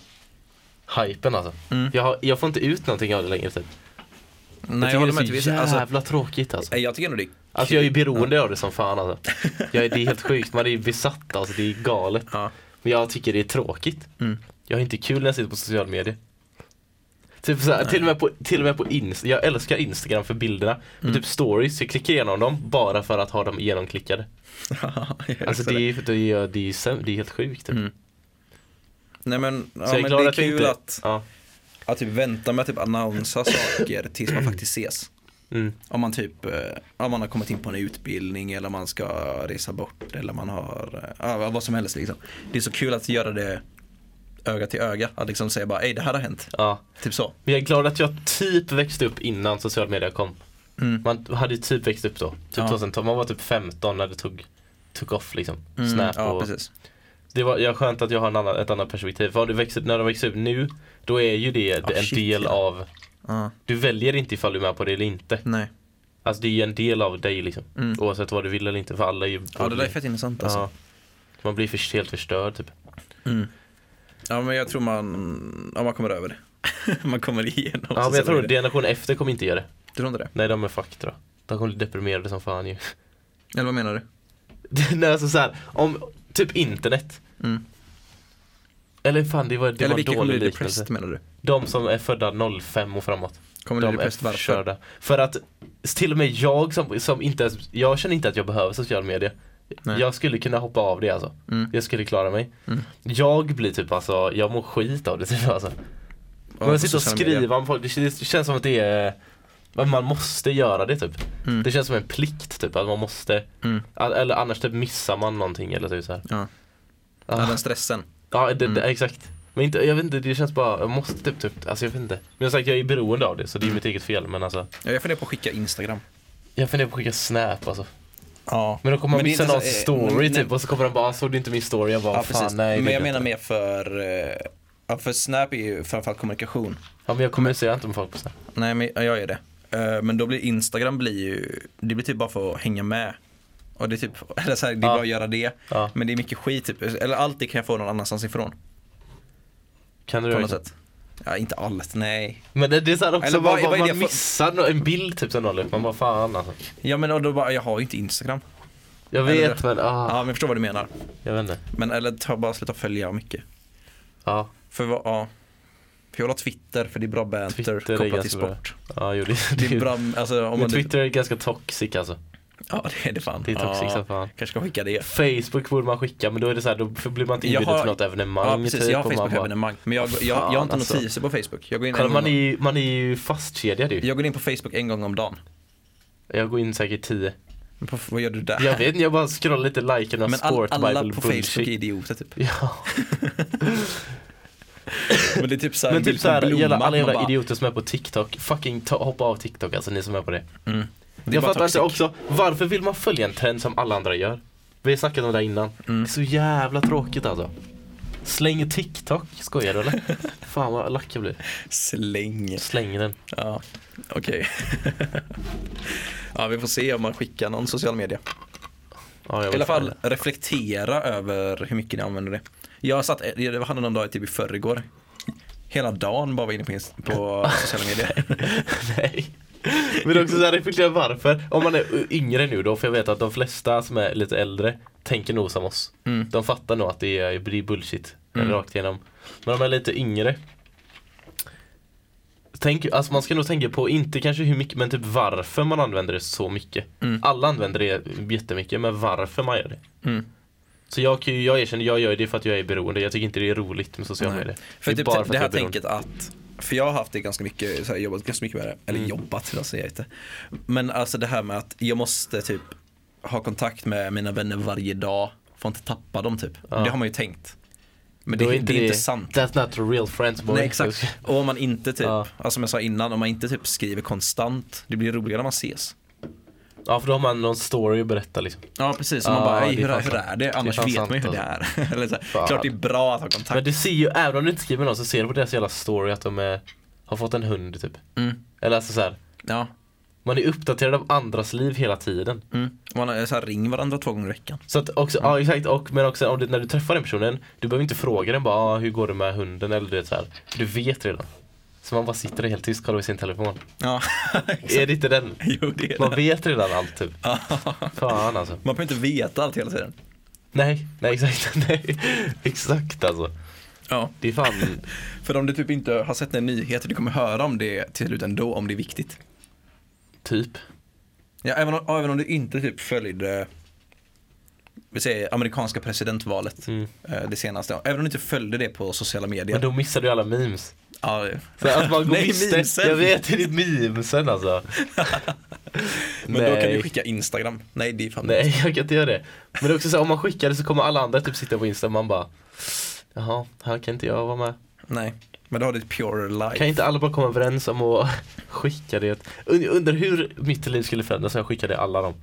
Speaker 2: hypen alltså.
Speaker 1: Mm.
Speaker 2: Jag, har, jag får inte ut någonting av det längre typ.
Speaker 1: Nej,
Speaker 2: jag
Speaker 1: jag
Speaker 2: tycker
Speaker 1: håller med.
Speaker 2: det är
Speaker 1: Typ,
Speaker 2: så jävla
Speaker 1: Alltså,
Speaker 2: tråkigt alltså.
Speaker 1: nej, jag tycker ändå det är
Speaker 2: Alltså jag är ju beroende av det som
Speaker 1: <laughs>
Speaker 2: fan alltså. Jag är, det är helt sjukt, man är ju besatt alltså, det är galet.
Speaker 1: <laughs> Ja.
Speaker 2: Men jag tycker det är tråkigt.
Speaker 1: Mm.
Speaker 2: Jag har inte kul när jag sitter på sociala medier. Typ så här, till och med på, till och med på Inst- jag älskar Instagram för bilderna. Men
Speaker 1: Mm.
Speaker 2: typ stories, jag klickar igenom dem bara för att ha dem genomklickade.
Speaker 1: Jag
Speaker 2: Alltså
Speaker 1: förstår
Speaker 2: det är ju det är, det är, ju säm- det är helt sjukt. Typ.
Speaker 1: Mm. Nej men,
Speaker 2: Så
Speaker 1: ja,
Speaker 2: jag är
Speaker 1: men det
Speaker 2: glad
Speaker 1: är
Speaker 2: att jag
Speaker 1: kul
Speaker 2: inte-
Speaker 1: att,
Speaker 2: Ja.
Speaker 1: att typ vänta med att typ annonsa saker tills man faktiskt ses.
Speaker 2: Mm.
Speaker 1: Om man typ, eh, om man har kommit in på en utbildning eller man ska resa bort eller man har, eh, ja, vad som helst liksom. Det är så kul att göra det öga till öga, att liksom säga bara ej det här har hänt.
Speaker 2: ja.
Speaker 1: Typ så.
Speaker 2: Men jag är glad att jag typ växte upp innan social media kom.
Speaker 1: Mm.
Speaker 2: Man hade ju typ växt upp då. Typ
Speaker 1: Ja.
Speaker 2: 2012, man var typ 15 när det tog, tog off liksom.
Speaker 1: Mm,
Speaker 2: Snap
Speaker 1: ja,
Speaker 2: och
Speaker 1: precis.
Speaker 2: Det var jag skönt att jag har en annan, ett annat perspektiv. För om du växer, när du växer upp nu, då är ju det
Speaker 1: Ah,
Speaker 2: en
Speaker 1: shit,
Speaker 2: del
Speaker 1: ja.
Speaker 2: av,
Speaker 1: Ja,
Speaker 2: du väljer inte ifall du är med på det eller inte.
Speaker 1: nej.
Speaker 2: Alltså det är ju en del av dig liksom.
Speaker 1: Mm.
Speaker 2: Oavsett vad du vill eller inte, för alla är ju
Speaker 1: Ja det där är fett intressant alltså.
Speaker 2: Ja. Man blir för, helt förstörd typ.
Speaker 1: Mm. Ja men jag tror man, ja man kommer över det. <laughs> man kommer igenom.
Speaker 2: Ja
Speaker 1: så
Speaker 2: men jag tror
Speaker 1: det.
Speaker 2: generationen efter kommer inte göra det.
Speaker 1: Du tror inte det?
Speaker 2: Nej de är fuck tror jag. De kommer bli deprimerade som fan ju. <laughs>
Speaker 1: Eller vad menar du?
Speaker 2: Nej alltså såhär, om, typ internet.
Speaker 1: Mm.
Speaker 2: Eller fan det var, det
Speaker 1: Eller
Speaker 2: var en
Speaker 1: vilka kommer
Speaker 2: dålig
Speaker 1: bli
Speaker 2: liknelse.
Speaker 1: depressed menar du?
Speaker 2: De som är födda 05 och framåt.
Speaker 1: Kommer bli
Speaker 2: De är
Speaker 1: depressed varför?
Speaker 2: förstörda. För att till och med jag som, som inte ens, jag känner inte att jag behöver sociala medier.
Speaker 1: Nej.
Speaker 2: Jag skulle kunna hoppa av det alltså.
Speaker 1: Mm.
Speaker 2: Jag skulle klara mig.
Speaker 1: Mm.
Speaker 2: Jag blir typ alltså, jag mår skit av det typ alltså.
Speaker 1: Ja,
Speaker 2: Om
Speaker 1: på
Speaker 2: jag sitter och
Speaker 1: sociala medier.
Speaker 2: skriver om folk, det känns, det känns som att det är men man måste göra det typ.
Speaker 1: Mm.
Speaker 2: Det känns som en plikt typ att man måste,
Speaker 1: Mm.
Speaker 2: all- eller annars typ missar man någonting eller typ så här.
Speaker 1: Ja. Ja, Mm.
Speaker 2: Ah.
Speaker 1: den stressen.
Speaker 2: Ja det, det, exakt. Men inte, jag vet inte, det känns bara, jag måste typ, typ alltså jag vet inte. Men jag sagt jag är beroende av det så det är mitt eget fel men alltså.
Speaker 1: Ja, jag funderar på att skicka Instagram.
Speaker 2: Jag funderar på att skicka snap alltså.
Speaker 1: Ja.
Speaker 2: Men då kommer man
Speaker 1: det är
Speaker 2: missa
Speaker 1: inte
Speaker 2: någons
Speaker 1: så- eh,
Speaker 2: story
Speaker 1: nej.
Speaker 2: typ och så kommer de bara, "Ah, såg du inte min story? Jag bara,
Speaker 1: Ja,
Speaker 2: fan
Speaker 1: precis.
Speaker 2: nej. det
Speaker 1: men jag
Speaker 2: gjorde
Speaker 1: menar
Speaker 2: inte."
Speaker 1: mer för, eh, ja, för Snap är ju framförallt kommunikation.
Speaker 2: Ja men jag kommunicerar inte med folk på snap.
Speaker 1: Nej, men ja, jag är det. Eh, Men då blir Instagram blir ju, det blir typ bara för att hänga med. Och det är typ, <laughs> eller så här, det är
Speaker 2: Ja.
Speaker 1: bra att göra det.
Speaker 2: Ja.
Speaker 1: Men det är mycket skit typ, eller allt det kan jag få någon annanstans ifrån.
Speaker 2: Kan du
Speaker 1: På
Speaker 2: göra
Speaker 1: något
Speaker 2: det?
Speaker 1: sätt. Ja, inte allt, nej.
Speaker 2: Men det, det är såhär också,
Speaker 1: Eller
Speaker 2: bara,
Speaker 1: vad- vad är
Speaker 2: man
Speaker 1: det för-
Speaker 2: missar nå- en bild typ som någon la upp. man bara fan alltså.
Speaker 1: Ja men och då bara, jag har ju inte Instagram.
Speaker 2: Jag
Speaker 1: Eller
Speaker 2: vet
Speaker 1: det.
Speaker 2: men,
Speaker 1: Ja,
Speaker 2: ah,
Speaker 1: men jag förstår vad du menar.
Speaker 2: jag vet inte.
Speaker 1: Men eller ta bara sluta följa mycket.
Speaker 2: Ja,
Speaker 1: För vad, ja. För jag vill ha Twitter, för det är bra banter
Speaker 2: Twitter är
Speaker 1: kopplat till
Speaker 2: ganska bra.
Speaker 1: sport.
Speaker 2: ja jo, det,
Speaker 1: Det är
Speaker 2: det- <laughs>
Speaker 1: bra, alltså om
Speaker 2: Men
Speaker 1: man
Speaker 2: Twitter är ganska toxic alltså.
Speaker 1: Ja det är det fan.
Speaker 2: Det är toxic
Speaker 1: ja.
Speaker 2: som fan.
Speaker 1: Kanske ska skicka det.
Speaker 2: Facebook borde man skicka men då är det såhär, då blir man inte
Speaker 1: Jag
Speaker 2: inbjuden
Speaker 1: har-
Speaker 2: till något evenemang. typ,
Speaker 1: Ja precis, jag har
Speaker 2: och man bara-
Speaker 1: Facebook-evenemang. Men jag, jag, jag har inte
Speaker 2: Fan, alltså.
Speaker 1: notiser på Facebook. Jag går, in
Speaker 2: Kolla,
Speaker 1: en
Speaker 2: man, är,
Speaker 1: gång,
Speaker 2: ju- man är ju fastkedjad ju.
Speaker 1: jag går in på Facebook en gång om dagen.
Speaker 2: Jag går in säkert tio.
Speaker 1: Men på, vad gör du där?
Speaker 2: Jag vet inte, jag bara scrollar lite, likar några
Speaker 1: Men all,
Speaker 2: sport,
Speaker 1: alla
Speaker 2: bible,
Speaker 1: på Facebook
Speaker 2: bullshit.
Speaker 1: är idioter
Speaker 2: <laughs>
Speaker 1: typ. <laughs>
Speaker 2: Ja.
Speaker 1: Men det är typ såhär,
Speaker 2: Men typ såhär, jävla, alla jävla
Speaker 1: bara,
Speaker 2: idioter som är på TikTok, fucking ta, hoppa av TikTok alltså ni som är på det.
Speaker 1: Mm. Det är
Speaker 2: Jag
Speaker 1: bara
Speaker 2: fattar inte
Speaker 1: toxic.
Speaker 2: också, varför vill man följa en trend som alla andra gör? Vi har snackat om det här innan.
Speaker 1: Mm.
Speaker 2: Det är så jävla tråkigt alltså. Släng TikTok, skojar du eller?
Speaker 1: <laughs>
Speaker 2: Fan vad lack jag blir.
Speaker 1: Släng.
Speaker 2: Släng den.
Speaker 1: Ja, okej. <laughs> ja vi får se om man skickar någon social media.
Speaker 2: Ja, jag vet
Speaker 1: I alla fall
Speaker 2: inte.
Speaker 1: reflektera över hur mycket ni använder det. Jag satt, jag hade någon dag typ i förrgår. Hela dagen bara var inne på, inst-
Speaker 2: <laughs>
Speaker 1: på sociala medier. <laughs>
Speaker 2: Nej. Men det är också såhär, reflektera varför. Om man är yngre nu då, för jag vet att de flesta som är lite äldre tänker nog som oss.
Speaker 1: Mm.
Speaker 2: De fattar nog att det är det är bullshit
Speaker 1: Mm.
Speaker 2: rakt igenom. Men om man är lite yngre Tänk, alltså man ska nog tänka på, inte kanske hur mycket, men typ varför man använder det så mycket. Alla använder det jättemycket, men varför man gör det.
Speaker 1: Mm.
Speaker 2: Så jag, kan ju- jag erkänner, jag gör det för att jag är beroende. Jag tycker inte det är roligt med sociala
Speaker 1: Nej.
Speaker 2: medier.
Speaker 1: För
Speaker 2: det är
Speaker 1: typ
Speaker 2: bara
Speaker 1: det
Speaker 2: jag
Speaker 1: här
Speaker 2: är beroende.
Speaker 1: tänket att, för jag har haft det ganska mycket, så här, jobbat ganska mycket med det,
Speaker 2: Mm.
Speaker 1: eller jobbat, det säger jag inte. Men alltså det här med att jag måste typ ha kontakt med mina vänner varje dag, får inte tappa dem typ.
Speaker 2: Ja.
Speaker 1: Det har man ju tänkt. Men
Speaker 2: Då
Speaker 1: det, är inte, det är inte sant.
Speaker 2: That's not real friends boy.
Speaker 1: Nej exakt. Och om man inte typ,
Speaker 2: Ja.
Speaker 1: alltså som jag sa innan, om man inte typ skriver konstant, det blir roligare när man ses.
Speaker 2: Ja för då har man någon story att berätta liksom.
Speaker 1: Ja precis, och
Speaker 2: Ja,
Speaker 1: man bara,
Speaker 2: det är
Speaker 1: "Ej, hur,
Speaker 2: fan
Speaker 1: hur
Speaker 2: sant.
Speaker 1: är alltså. det? Annars
Speaker 2: fan
Speaker 1: vet
Speaker 2: sant,
Speaker 1: man ju hur det är. <laughs> Eller så här,
Speaker 2: Fan.
Speaker 1: klart det är bra att ha
Speaker 2: Men
Speaker 1: kontakt.
Speaker 2: du ser ju, även om du inte skriver med någon så ser du på deras jävla story att de är, har fått en hund typ.
Speaker 1: Mm.
Speaker 2: Eller alltså såhär,
Speaker 1: Ja.
Speaker 2: man är uppdaterad av andras liv hela tiden.
Speaker 1: Mm. Man har- så här, ring varandra två gånger i veckan.
Speaker 2: Så att också, ja
Speaker 1: Mm.
Speaker 2: exakt, och, men också om det, när du träffar den personen, du behöver inte fråga den bara ah, hur går det med hunden eller du vet såhär. För du vet redan. Så man bara sitter där helt tyst och kollar i sin telefon.
Speaker 1: Ja,
Speaker 2: Är det inte den?
Speaker 1: <laughs> jo det är
Speaker 2: Man
Speaker 1: det.
Speaker 2: vet redan allt typ. Fan alltså.
Speaker 1: Man behöver inte veta allt hela tiden.
Speaker 2: Nej, nej exakt. <laughs> Nej. Exakt alltså.
Speaker 1: Ja.
Speaker 2: Det är fan
Speaker 1: För om du typ inte har sett några nyheter, du kommer höra om det till slut ändå om det är viktigt.
Speaker 2: typ.
Speaker 1: Ja, även om, ja, även om du inte typ följde vi säger amerikanska presidentvalet
Speaker 2: Mm.
Speaker 1: eh, det senaste. Även om du inte följde det på sociala medier.
Speaker 2: Men då missar du alla memes.
Speaker 1: ja, det-
Speaker 2: Så att
Speaker 1: <laughs>
Speaker 2: man går
Speaker 1: Nej,
Speaker 2: miste.
Speaker 1: memesen.
Speaker 2: Jag vet, det är ditt memesen alltså.
Speaker 1: <laughs> men då kan du
Speaker 2: Nej.
Speaker 1: skicka Instagram. Nej, det är fan
Speaker 2: Nej, jag kan inte göra det. Men det är också så här, om man skickar det så kommer alla andra typ sitta på Insta och man bara Jaha, här kan inte jag vara med.
Speaker 1: Nej. Men då har du ett pure life.
Speaker 2: Kan inte alla bara komma överens om att <laughs> skicka det? Und- Undrar hur mitt liv skulle förändras om jag skickade alla dem.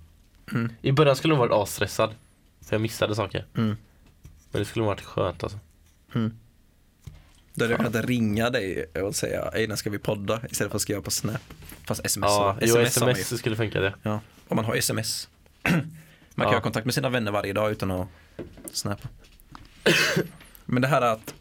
Speaker 1: Mm.
Speaker 2: I början skulle jag nog varit asstressad. För jag missade saker.
Speaker 1: Mm.
Speaker 2: Men det skulle nog varit skönt alltså.
Speaker 1: Då hade jag kunnat ringa dig och säga, "Ey, när ska vi podda? Istället för att skriva på Snap. Fast sms
Speaker 2: Ja,
Speaker 1: va?
Speaker 2: jo,
Speaker 1: SMS har man ju.
Speaker 2: sms skulle funka det.
Speaker 1: Ja, om man har sms. <clears throat> man kan
Speaker 2: Ja.
Speaker 1: ha kontakt med sina vänner varje dag utan att snappa. <clears throat> Men det här att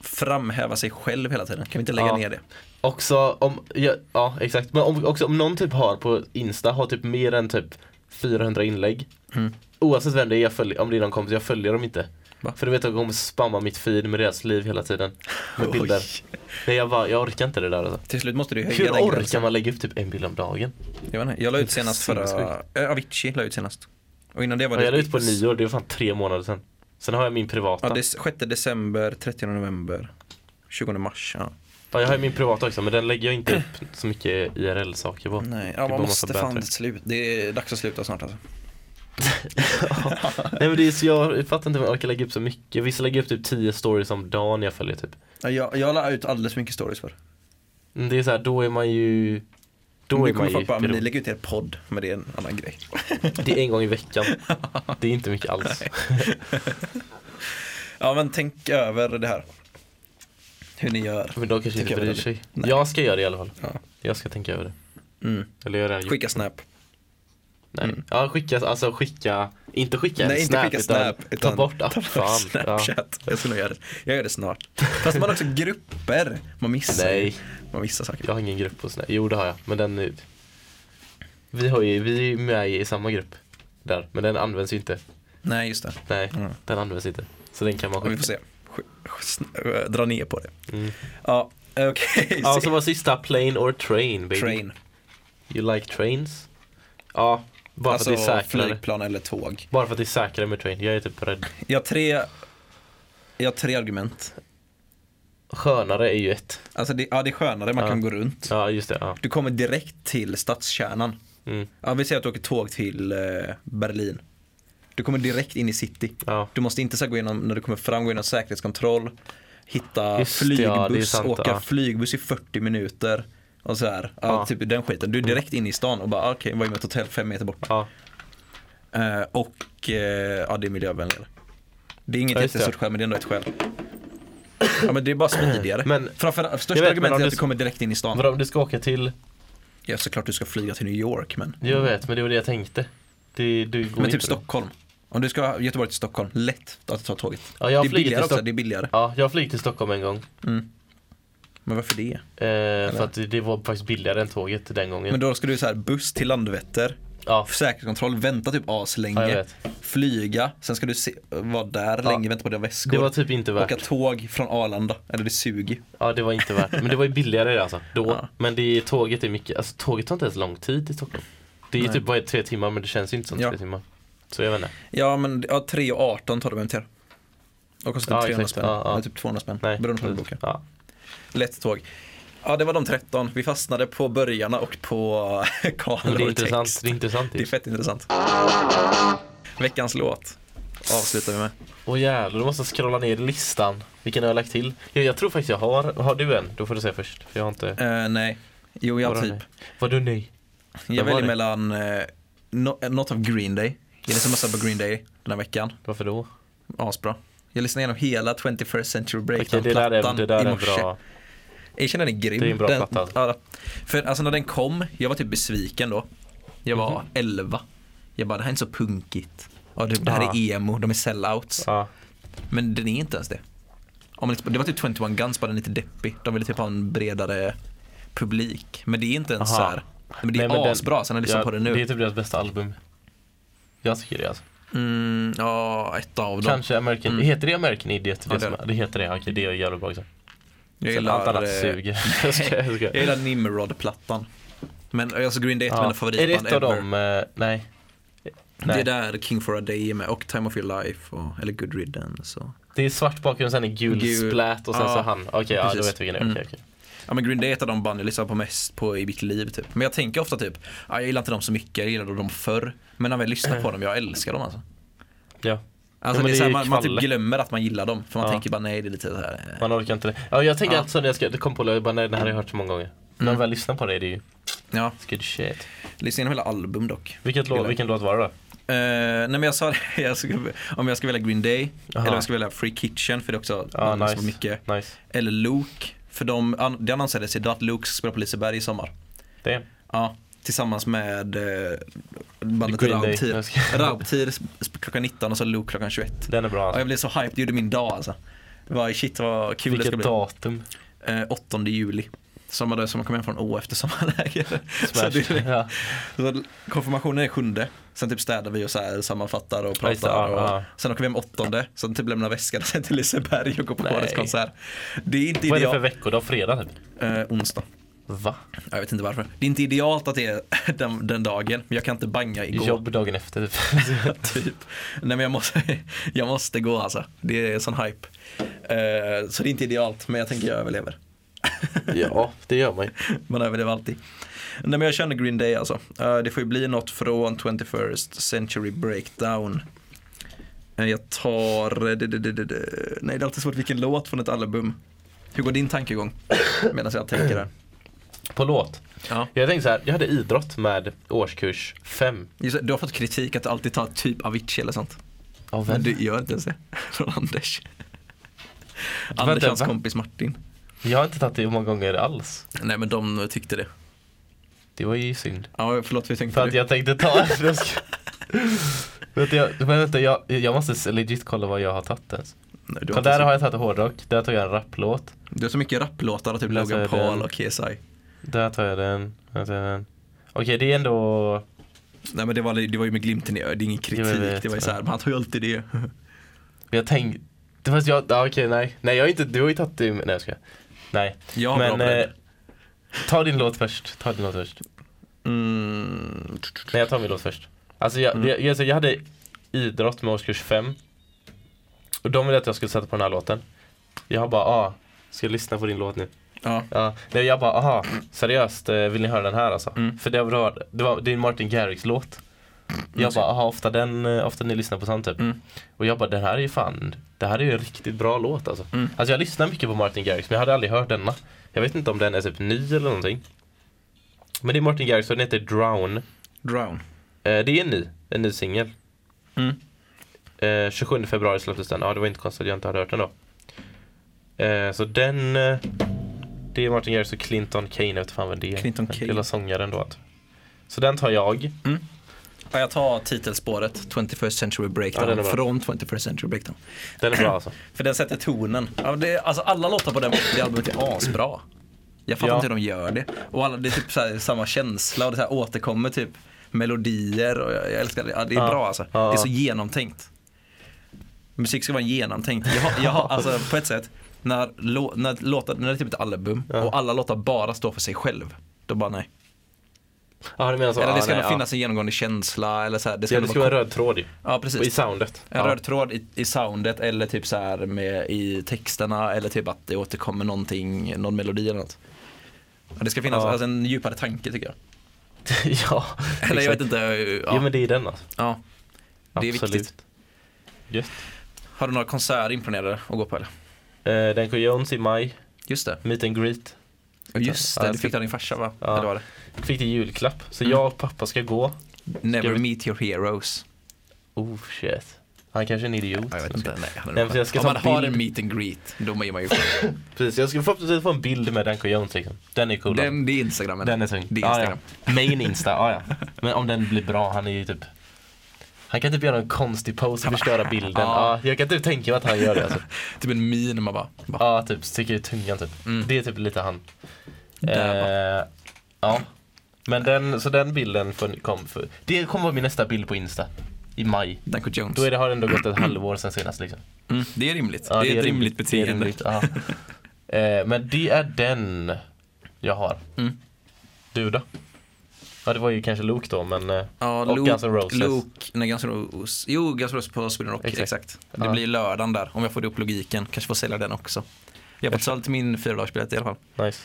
Speaker 1: framhäva sig själv hela tiden, kan vi inte lägga
Speaker 2: Ja.
Speaker 1: ner det?
Speaker 2: Också om, ja, ja exakt, men om, också om någon typ har på Insta, har typ mer än typ 400 inlägg.
Speaker 1: Mm.
Speaker 2: Oavsett vem det är, jag följer, om det är någon kompis, jag följer dem inte.
Speaker 1: Va?
Speaker 2: För du vet att de kommer spamma mitt feed med deras liv hela tiden. Med
Speaker 1: <laughs> Oj.
Speaker 2: bilder. Nej jag bara, jag orkar inte det där alltså.
Speaker 1: Till slut måste du höja
Speaker 2: Hur
Speaker 1: den
Speaker 2: orkar
Speaker 1: gränsen.
Speaker 2: man lägga upp typ en bild om dagen?
Speaker 1: Jag, vet inte, jag la ut senast förra,
Speaker 2: Sinnessjukt.
Speaker 1: äh, Avicii la ut senast. Och innan det var
Speaker 2: Ja,
Speaker 1: det
Speaker 2: jag la ut på nyår, det var fan tre månader sedan. Sen har jag min privata.
Speaker 1: Ja,
Speaker 2: Ja,
Speaker 1: det är 6 december, 30 november, 20 mars. Ja.
Speaker 2: jag har ju min privata också men den lägger jag inte upp så mycket IRL-saker på.
Speaker 1: Nej,
Speaker 2: Det är
Speaker 1: ja, man
Speaker 2: bara
Speaker 1: måste
Speaker 2: massa
Speaker 1: fan
Speaker 2: banter.
Speaker 1: sluta. Det är dags att sluta snart alltså.
Speaker 2: Nej men det är så jag fattar inte om jag orkar lägga upp så mycket. Vissa lägger upp typ 10 stories om dagen jag följer typ.
Speaker 1: Ja, Jag, jag la ut alldeles för mycket stories för.
Speaker 2: Mm, Det är så här, då är man ju
Speaker 1: Nu
Speaker 2: Då är man
Speaker 1: kommer
Speaker 2: ju
Speaker 1: folk bara, "Men ni
Speaker 2: pirot."
Speaker 1: lägger ut er podd, men det är en annan grej.
Speaker 2: Det är en gång i veckan Det är inte mycket alls
Speaker 1: <laughs> Ja men tänk över det här. Hur ni gör.
Speaker 2: Men de kanske inte
Speaker 1: Tycker jag
Speaker 2: bryr
Speaker 1: väl det.
Speaker 2: sig
Speaker 1: Nej.
Speaker 2: Jag ska göra det i alla fall
Speaker 1: Ja.
Speaker 2: Jag ska tänka över det
Speaker 1: Mm.
Speaker 2: Eller göra det
Speaker 1: Skicka snap.
Speaker 2: Nej. Ja skicka, alltså skicka Inte skicka en
Speaker 1: Nej inte
Speaker 2: snap,
Speaker 1: skicka
Speaker 2: utan
Speaker 1: snap. utan
Speaker 2: Ta bort appen ja.
Speaker 1: Snapchat. Jag ska nog göra det. Jag gör det snart. Fast
Speaker 2: <laughs>
Speaker 1: man har också grupper. Man missar
Speaker 2: Nej,
Speaker 1: Man missar saker.
Speaker 2: jag har ingen grupp på snap Jo det har jag, men den är- Vi har ju, vi är ju med i samma grupp Där, men den används ju inte
Speaker 1: Nej just det.
Speaker 2: Nej,
Speaker 1: Mm.
Speaker 2: den används inte Så den kan man
Speaker 1: Ja, vi
Speaker 2: skicka
Speaker 1: får se. Sk- sn- äh, Dra ner på det.
Speaker 2: Mm.
Speaker 1: Ja okej.
Speaker 2: Ja, så var sista plane or train baby
Speaker 1: Train.
Speaker 2: You like trains? Ja, bara
Speaker 1: Alltså
Speaker 2: för att det är säkrare.
Speaker 1: flygplan eller tåg.
Speaker 2: Bara för att det är säkrare med train. Jag är typ rädd.
Speaker 1: Jag har tre, jag har tre argument.
Speaker 2: Skönare är ju ett.
Speaker 1: Alltså det, ja, det är skönare, man
Speaker 2: Ja.
Speaker 1: kan gå runt.
Speaker 2: Ja, just det. Ja.
Speaker 1: Du kommer direkt till stadskärnan.
Speaker 2: Mm.
Speaker 1: Ja, vi säger att du åker tåg till eh, Berlin. Du kommer direkt in i city.
Speaker 2: ja.
Speaker 1: Du måste inte så här gå igenom, när du kommer fram, gå igenom säkerhetskontroll, hitta
Speaker 2: Just det,
Speaker 1: flygbuss,
Speaker 2: ja, det är sant,
Speaker 1: åka
Speaker 2: ja.
Speaker 1: flygbuss i 40 minuter. Och så här, ja,
Speaker 2: Ja. Mm.
Speaker 1: typ den skiten. Du är direkt inne i stan och bara ah, okej, var är mitt hotell fem meter bort?
Speaker 2: ja.
Speaker 1: Eh, och eh, ja, det är miljövänligare. Det är inget
Speaker 2: Ja, just det.
Speaker 1: jättestort skäl men det är ändå ett skäl. Ja men det är bara smidigare.
Speaker 2: Men-
Speaker 1: Framförallt,
Speaker 2: Jag
Speaker 1: största
Speaker 2: vet, men
Speaker 1: argumentet
Speaker 2: om
Speaker 1: är
Speaker 2: du-
Speaker 1: att du kommer direkt in i stan.
Speaker 2: Vadå om du ska åka till?
Speaker 1: Ja såklart du ska flyga till New York men.
Speaker 2: Jag vet, men det var det jag tänkte. Det, du går
Speaker 1: Mm. Men
Speaker 2: inte
Speaker 1: typ
Speaker 2: då.
Speaker 1: Stockholm. Om du ska Göteborg till Stockholm, lätt att ta tåget.
Speaker 2: Ja, jag har
Speaker 1: det är
Speaker 2: flugit till
Speaker 1: billigare också,
Speaker 2: Stockholm.
Speaker 1: det är billigare.
Speaker 2: Ja, jag har flugit till Stockholm en gång.
Speaker 1: Men varför det?
Speaker 2: Eh, för att det var faktiskt billigare än tåget den gången.
Speaker 1: Men då ska du så här buss till Landvetter,
Speaker 2: Ja.
Speaker 1: säkerhetskontroll, vänta typ
Speaker 2: Ja, jag
Speaker 1: aslänge,
Speaker 2: vet.
Speaker 1: flyga, sen ska du se, vara där
Speaker 2: Ja.
Speaker 1: länge, vänta på dina väskor.
Speaker 2: Det var typ inte värt.
Speaker 1: Åka tåg från Arlanda, eller det suger.
Speaker 2: Ja det var inte värt Men det var ju billigare det alltså då.
Speaker 1: Ja.
Speaker 2: Men det, tåget är mycket, alltså tåget tar inte ens lång tid i Stockholm. Det är ju
Speaker 1: Nej.
Speaker 2: typ bara tre timmar men det känns ju inte som
Speaker 1: Ja.
Speaker 2: tre timmar. Så jag vet inte.
Speaker 1: Ja men ja, 3,18 tar det med MTR. Och kostar
Speaker 2: Ja,
Speaker 1: typ 300
Speaker 2: exakt.
Speaker 1: spänn,
Speaker 2: Ja, ja.
Speaker 1: eller typ 200 spänn,
Speaker 2: Nej.
Speaker 1: beroende på hur du bokar.
Speaker 2: Ja.
Speaker 1: Lätt tåg. Ja det var de 13, vi fastnade på börjarna och på <laughs>
Speaker 2: Men det är
Speaker 1: Karl och
Speaker 2: intressant.
Speaker 1: text. Typ.
Speaker 2: Det är intressant.
Speaker 1: Det är
Speaker 2: ju.
Speaker 1: fett intressant. Veckans låt avslutar vi med.
Speaker 2: Åh jävlar, du måste jag scrolla ner i listan. Vilken har jag lagt till? Jag, jag tror faktiskt jag har. Har du en? Då får du säga först. För jag har inte.
Speaker 1: Eh, nej, jo jag
Speaker 2: Vadå
Speaker 1: typ.
Speaker 2: nej? Vadå nej?
Speaker 1: Jag
Speaker 2: Vad var
Speaker 1: väljer
Speaker 2: det?
Speaker 1: mellan eh, no, eh, något av Green Day. Jag lyssnar massa på Green Day den här veckan.
Speaker 2: Varför då?
Speaker 1: Asbra. Jag lyssnade igenom hela 21st Century
Speaker 2: Okej, det där är,
Speaker 1: Breakdown-plattan
Speaker 2: det där
Speaker 1: i
Speaker 2: är
Speaker 1: morse.
Speaker 2: bra.
Speaker 1: Jag känner den är grym.
Speaker 2: Det är en bra
Speaker 1: den,
Speaker 2: platta.
Speaker 1: ja, För alltså när den kom, jag var typ besviken då. Jag var
Speaker 2: Mhm.
Speaker 1: 11. Jag bara, det här är inte så punkigt. Ja, det, det här
Speaker 2: Ah.
Speaker 1: är emo, de är sellouts.
Speaker 2: Ja.
Speaker 1: Men den är inte ens det. Om man, liksom- det var typ 21 Guns, bara den är lite deppig. De ville typ ha en bredare publik. Men det är inte ens
Speaker 2: Aha.
Speaker 1: så här. Men det är
Speaker 2: Nej, men den-
Speaker 1: asbra, sen när jag lyssnar
Speaker 2: ja,
Speaker 1: på det nu.
Speaker 2: Det är typ deras bästa album. Jag tycker det alltså.
Speaker 1: Mm, ja, ett av dem.
Speaker 2: Kanske American,
Speaker 1: Mm.
Speaker 2: heter det American Idiot? Det,
Speaker 1: Ja, det
Speaker 2: som,
Speaker 1: är det.
Speaker 2: det heter det, okej det är jävligt bra också.
Speaker 1: Jag
Speaker 2: Sen
Speaker 1: gillar,
Speaker 2: Allt annat
Speaker 1: eh,
Speaker 2: suger. <laughs> jag skojar, jag skojar.
Speaker 1: <laughs> jag gillar Nimrod-plattan. Men alltså Green Day är ett av
Speaker 2: Ja.
Speaker 1: mina favoritband
Speaker 2: Är det ett av
Speaker 1: ever.
Speaker 2: dem, eh, nej.
Speaker 1: Det
Speaker 2: Nej.
Speaker 1: är där King for a Day är med och Time of Your Life och, eller Good Riddance. Och.
Speaker 2: Det är svart bakgrund, sen är gul,
Speaker 1: Gul.
Speaker 2: splat och sen
Speaker 1: Ja.
Speaker 2: så han. Okej, ja, då
Speaker 1: Precis. Mm.
Speaker 2: vet vi vilken det är. Okej, okej.
Speaker 1: Ja men Green Day är ett av de band jag lyssnar på mest på i mitt liv typ. Men jag tänker ofta typ, ah, jag gillar inte dem så mycket, jag gillade dem förr. Men när man väl lyssnar på dem, jag älskar dem alltså.
Speaker 2: Ja.
Speaker 1: Alltså
Speaker 2: men
Speaker 1: det är
Speaker 2: det
Speaker 1: så här,
Speaker 2: är
Speaker 1: man, man
Speaker 2: kvalle.
Speaker 1: typ glömmer att man gillar dem. För man
Speaker 2: Ja.
Speaker 1: tänker bara nej det är lite så här. eh.
Speaker 2: Man orkar inte det. Ja, jag tänker
Speaker 1: Ja. Mm.
Speaker 2: alltså när jag ska, det kom på det, jag bara, nej, det här har jag hört så många gånger. När man väl lyssnar på det, det är ju
Speaker 1: Ja,
Speaker 2: good shit.
Speaker 1: lyssna igenom hela album dock.
Speaker 2: Vilket låt,
Speaker 1: Gillar.
Speaker 2: vilken låt var det då?
Speaker 1: Eh, nej men jag sa det, <laughs> jag ska, om jag ska välja Green Day,
Speaker 2: Aha.
Speaker 1: eller om jag ska välja Free Kitchen för det är också
Speaker 2: Ja,
Speaker 1: band jag lyssnar på
Speaker 2: Ah, nice.
Speaker 1: mycket.
Speaker 2: Nice.
Speaker 1: Eller Luke, för de, an, det annonserades idag att Luke ska spela på Liseberg i sommar.
Speaker 2: Det.
Speaker 1: Ja, tillsammans med eh, bandet
Speaker 2: Green Day.
Speaker 1: Raubtir.
Speaker 2: Jag ska-
Speaker 1: Raubtir sp- klockan 19 och så Luke klockan 21.
Speaker 2: Den är bra
Speaker 1: Ja, jag
Speaker 2: alltså.
Speaker 1: blev så hyped, det gjorde min dag alltså. Det var, shit vad kul det ska
Speaker 2: Vilket
Speaker 1: bli. <laughs>
Speaker 2: datum.
Speaker 1: Eh, 8 juli. Samma dag som man kom hem från Å efter sommarläger. <laughs> så,
Speaker 2: Smash.
Speaker 1: det,
Speaker 2: Ja.
Speaker 1: så konfirmationen är sjunde. Sen typ städar vi och så här sammanfattar och
Speaker 2: Ja, just det,
Speaker 1: pratar.
Speaker 2: ja,
Speaker 1: och,
Speaker 2: ja.
Speaker 1: Sen åker vi hem åttonde. Sen typ lämnar väskan <laughs> och sen till Liseberg och går på
Speaker 2: Nej.
Speaker 1: årets konsert. Det är inte
Speaker 2: Vad är det för
Speaker 1: ideal.
Speaker 2: veckodag? Fredag typ?
Speaker 1: Eh, onsdag.
Speaker 2: Va?
Speaker 1: Jag vet inte varför. Det är inte idealt att det är <laughs> den, den dagen. Men jag kan inte banga igår.
Speaker 2: Jobb dagen efter typ.
Speaker 1: <laughs> typ. Nej men jag måste, <laughs> jag måste gå alltså. Det är sån hype. Eh, så det är inte idealt men jag tänker jag överlever.
Speaker 2: Ja, det gör man ju.
Speaker 1: Man överlever alltid. Nej men jag känner Green Day alltså. Eh, det får ju bli något från 21st Century Breakdown. Eh, jag tar, eh, det, det, det, det, det. nej det är alltid svårt vilken låt från ett album. Hur går din tankegång? Medan jag tänker där.
Speaker 2: På låt.
Speaker 1: Ja.
Speaker 2: Jag tänkte så här, jag hade idrott med årskurs 5.
Speaker 1: Just, det, du har fått kritik att du alltid tar typ Avicii eller sånt.
Speaker 2: Av
Speaker 1: Men du gör inte ens det. <laughs> Från Anders. Anders
Speaker 2: Vänta,
Speaker 1: hans
Speaker 2: va?
Speaker 1: kompis Martin.
Speaker 2: Jag har inte tagit det många gånger alls.
Speaker 1: Nej men de tyckte det.
Speaker 2: Det var ju synd.
Speaker 1: Ja förlåt vi tänkte
Speaker 2: För att
Speaker 1: du.
Speaker 2: jag tänkte ta... Jag ska- Vänta, jag, men vänta, jag, jag måste s- legit kolla vad jag har tagit ens.
Speaker 1: Nej, du, har
Speaker 2: Kolla,
Speaker 1: inte
Speaker 2: där
Speaker 1: så,
Speaker 2: har jag tagit hårdrock, där tog jag en rapplåt.
Speaker 1: du har så mycket rapplåtar och typ
Speaker 2: Läser
Speaker 1: Logan Paul
Speaker 2: den.
Speaker 1: och KSI.
Speaker 2: Där tar jag den, där tar jag den. Okej, det är ändå...
Speaker 1: Nej men det var, det var ju med glimten i ögat, det är ingen kritik.
Speaker 2: Jo, jag vet,
Speaker 1: det var ju
Speaker 2: men-
Speaker 1: såhär, men han tar ju alltid det. <laughs>
Speaker 2: Jag tänkte... Fast jag... Ja, okej, nej. Nej, jag har inte... Du har ju tagit det... Nej, jag skojar. Nej.
Speaker 1: Jag har
Speaker 2: Men...
Speaker 1: bra bredd.
Speaker 2: Eh, ta din låt först. Ta din låt först.
Speaker 1: Mm.
Speaker 2: Nej jag tar min låt först. Alltså jag, jag, jag, jag hade idrott med årskurs 5. Och de ville att jag skulle sätta på den här låten. Jag bara, ah, ska jag lyssna på din låt nu?
Speaker 1: Ja.
Speaker 2: Ja, nej, jag bara, aha, seriöst, eh, vill ni höra den här alltså?
Speaker 1: Mm.
Speaker 2: För det var, det var det är en Martin Garrix låt. Jag bara, aha, ofta den, eh, ofta ni lyssnar på sånt typ.
Speaker 1: Mm.
Speaker 2: Och jag bara, den här är ju fan, det här är ju en riktigt bra låt alltså.
Speaker 1: Mm.
Speaker 2: Alltså jag lyssnar mycket på Martin Garrix men jag hade aldrig hört denna. Jag vet inte om den är typ ny eller någonting. Men det är Martin Garrix och den heter Drown.
Speaker 1: Drown.
Speaker 2: Eh, det är en ny, en ny singel.
Speaker 1: Mm.
Speaker 2: Eh, 27 februari släpptes den. Ja, det var inte konstigt att jag inte hade hört den då. Eh, så den... Eh, det är Martin Garrix och Clinton Kane, jag vet fan vem det är.
Speaker 1: Clinton Kane.
Speaker 2: Hela sångaren då. alltså. Så den tar jag.
Speaker 1: Ja, jag tar titelspåret 21st Century
Speaker 2: Ja,
Speaker 1: Breakdown
Speaker 2: den är bra.
Speaker 1: från 21st Century Breakdown.
Speaker 2: Den är bra alltså.
Speaker 1: För den sätter tonen. Ja, men det, alltså alla låtar på den, det albumet är asbra. Jag fattar
Speaker 2: Ja.
Speaker 1: inte hur de gör det. Och alla, det är typ så här, samma känsla och det så här återkommer typ melodier och jag, jag älskar det. Ja, det är
Speaker 2: Ja.
Speaker 1: bra alltså.
Speaker 2: Ja.
Speaker 1: Det är så genomtänkt. Musik ska vara genomtänkt. Jag, har- jag, har- alltså på ett sätt, när, lå, när, låtar, när det är typ ett album
Speaker 2: Ja.
Speaker 1: och alla låtar bara står för sig själv. Då bara nej.
Speaker 2: Ja, du menar så.
Speaker 1: Eller det
Speaker 2: Ja,
Speaker 1: ska
Speaker 2: nej,
Speaker 1: nog
Speaker 2: ja.
Speaker 1: finnas en genomgående känsla eller så här, det ska
Speaker 2: Ja,
Speaker 1: nog
Speaker 2: det ska vara en röd tråd ju.
Speaker 1: Ja
Speaker 2: Och I
Speaker 1: precis.
Speaker 2: soundet.
Speaker 1: En
Speaker 2: ja.
Speaker 1: röd tråd i, i soundet eller typ så här med, i texterna eller typ att det återkommer någonting, någon melodi eller något. Ja, Det ska finnas
Speaker 2: Ja.
Speaker 1: alltså, en djupare tanke tycker jag. Liksom.
Speaker 2: ja, <laughs>
Speaker 1: Eller jag vet
Speaker 2: exakt.
Speaker 1: inte. eh, Ja.
Speaker 2: Jo men det är den alltså.
Speaker 1: ja. Det är
Speaker 2: Absolut.
Speaker 1: viktigt.
Speaker 2: Just.
Speaker 1: Har du några konserter imponerade att gå på eller?
Speaker 2: Eh, den kom Jones i maj,
Speaker 1: Just det.
Speaker 2: Meet and Greet.
Speaker 1: Just
Speaker 2: Ja,
Speaker 1: det,
Speaker 2: jag
Speaker 1: du
Speaker 2: ska-
Speaker 1: fick ta din farsa va?
Speaker 2: Ja.
Speaker 1: Eller var det?
Speaker 2: Fick det i julklapp. Så
Speaker 1: Mm.
Speaker 2: jag och pappa ska gå.
Speaker 1: Never
Speaker 2: vi-
Speaker 1: meet your heroes.
Speaker 2: Oh shit. Han kanske är en idiot.
Speaker 1: Jag vet inte. Nej, han är
Speaker 2: Nej,
Speaker 1: nog
Speaker 2: för jag ska
Speaker 1: Om
Speaker 2: ta
Speaker 1: man har
Speaker 2: bild.
Speaker 1: en meet and greet, då är man ju
Speaker 2: Precis, jag ska förhoppningsvis få en bild med Danko Jones liksom. Den är
Speaker 1: <laughs>
Speaker 2: cool.
Speaker 1: Den, det är Instagramen.
Speaker 2: den är tung.
Speaker 1: Det är
Speaker 2: Ja,
Speaker 1: Instagram.
Speaker 2: ja. Main Insta, ja,
Speaker 1: <laughs>
Speaker 2: ja. Men om den blir bra, han är ju typ han kan typ göra en konstig pose och förstöra bilden.
Speaker 1: Ja.
Speaker 2: Ja. jag kan typ tänka mig att han gör det. Alltså.
Speaker 1: Typ en min man bara, bara
Speaker 2: Ja, typ sticker ut tungan typ.
Speaker 1: Mm.
Speaker 2: Det är typ lite han.
Speaker 1: Där
Speaker 2: Eh, ja. Men den, så den bilden får- kom för, Det kommer vara min nästa bild på Insta. I maj.
Speaker 1: Danko Jones.
Speaker 2: Då är det, har det ändå gått ett halvår sen senast liksom.
Speaker 1: Mm, det är rimligt.
Speaker 2: Ja,
Speaker 1: det är ett rimligt
Speaker 2: det är
Speaker 1: beteende.
Speaker 2: rimligt, ja. eh, men det är den jag har.
Speaker 1: Mm.
Speaker 2: Du då? Ja det var ju kanske Luke då men... eh,
Speaker 1: Ja,
Speaker 2: och
Speaker 1: Luke,
Speaker 2: Guns N' Roses.
Speaker 1: Luke, nej, Guns N' Roses. Jo, Guns N' Roses på Sweden Rock. Exakt.
Speaker 2: Exakt.
Speaker 1: Det
Speaker 2: Ja.
Speaker 1: blir lördagen där, om jag får ihop logiken. Kanske får sälja den också. Jag har fått sålt min fyradagarsbiljett i alla fall.
Speaker 2: Nice.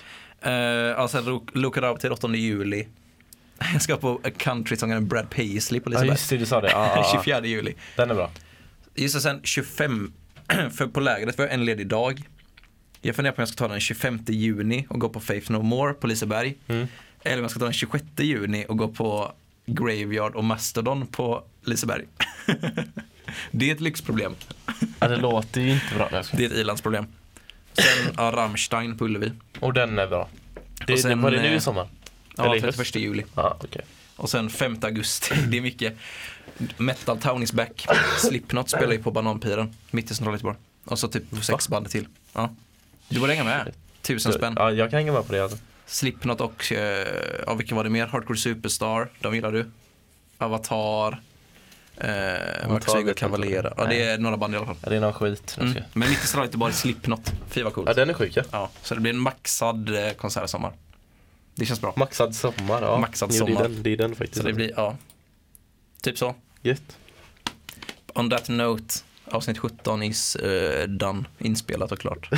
Speaker 1: Uh, alltså, Luke- Luke Raub till 8 juli. <laughs> Jag ska på countrysångaren Brad Paisley på
Speaker 2: Ja
Speaker 1: Liseberg. <laughs>
Speaker 2: just det, du sa det. Ja, ja, ja.
Speaker 1: 24 juli.
Speaker 2: Den är bra.
Speaker 1: Just det, sen 25, <clears throat> för på lägret var jag en ledig dag. Jag funderar på om jag ska ta den 25 juni och gå på Faith No More på Liseberg.
Speaker 2: Mm.
Speaker 1: Eller om jag ska ta den 26 juni och gå på Graveyard och Mastodon på Liseberg. <laughs> det är ett lyxproblem.
Speaker 2: Ja, det låter ju inte bra. Jag skojar.
Speaker 1: Det är ett ilandsproblem. Sen ja, Rammstein på Ullevi.
Speaker 2: Och den är bra. Det,
Speaker 1: Och sen,
Speaker 2: var det nu
Speaker 1: eh,
Speaker 2: i sommar?
Speaker 1: Ja,
Speaker 2: Eller i höst.
Speaker 1: 31 juli.
Speaker 2: Ja, okej.
Speaker 1: Och sen 5 augusti, <laughs> det är mycket. Metal Town is back. Slipknot spelar ju på Bananpiren, mitt i centrala Göteborg. Och så typ sex band till. Ja. Du borde hänga med. Tusen spänn.
Speaker 2: Ja, jag kan hänga med på det alltså.
Speaker 1: Slipknot och, eh, ja vilka var det mer? Hardcore Superstar, de gillar du. Avatar. Eh, Max
Speaker 2: Avatar
Speaker 1: Hugo
Speaker 2: vet jag inte.
Speaker 1: Cavalera. Ja, det är några band i alla fall.
Speaker 2: Ja, det är någon skit. Nu ska
Speaker 1: Mm.
Speaker 2: jag-
Speaker 1: Men mitt i Strajte bara Slipknot. Fy vad coolt.
Speaker 2: Ja, den är sjuk ja.
Speaker 1: Ja, så det blir en maxad eh, konsert i sommar. Det känns bra.
Speaker 2: Maxad sommar. Ja.
Speaker 1: Maxad
Speaker 2: Jo,
Speaker 1: sommar.
Speaker 2: Det är den, det är den faktiskt.
Speaker 1: Så det blir, ja. Typ så.
Speaker 2: Gött.
Speaker 1: On that note. Avsnitt 17 is eh, done. Inspelat och <laughs> klart.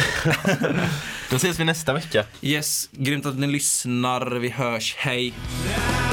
Speaker 2: Då ses vi nästa vecka.
Speaker 1: Yes, grymt att ni lyssnar. Vi hörs. Hej!
Speaker 3: Yeah.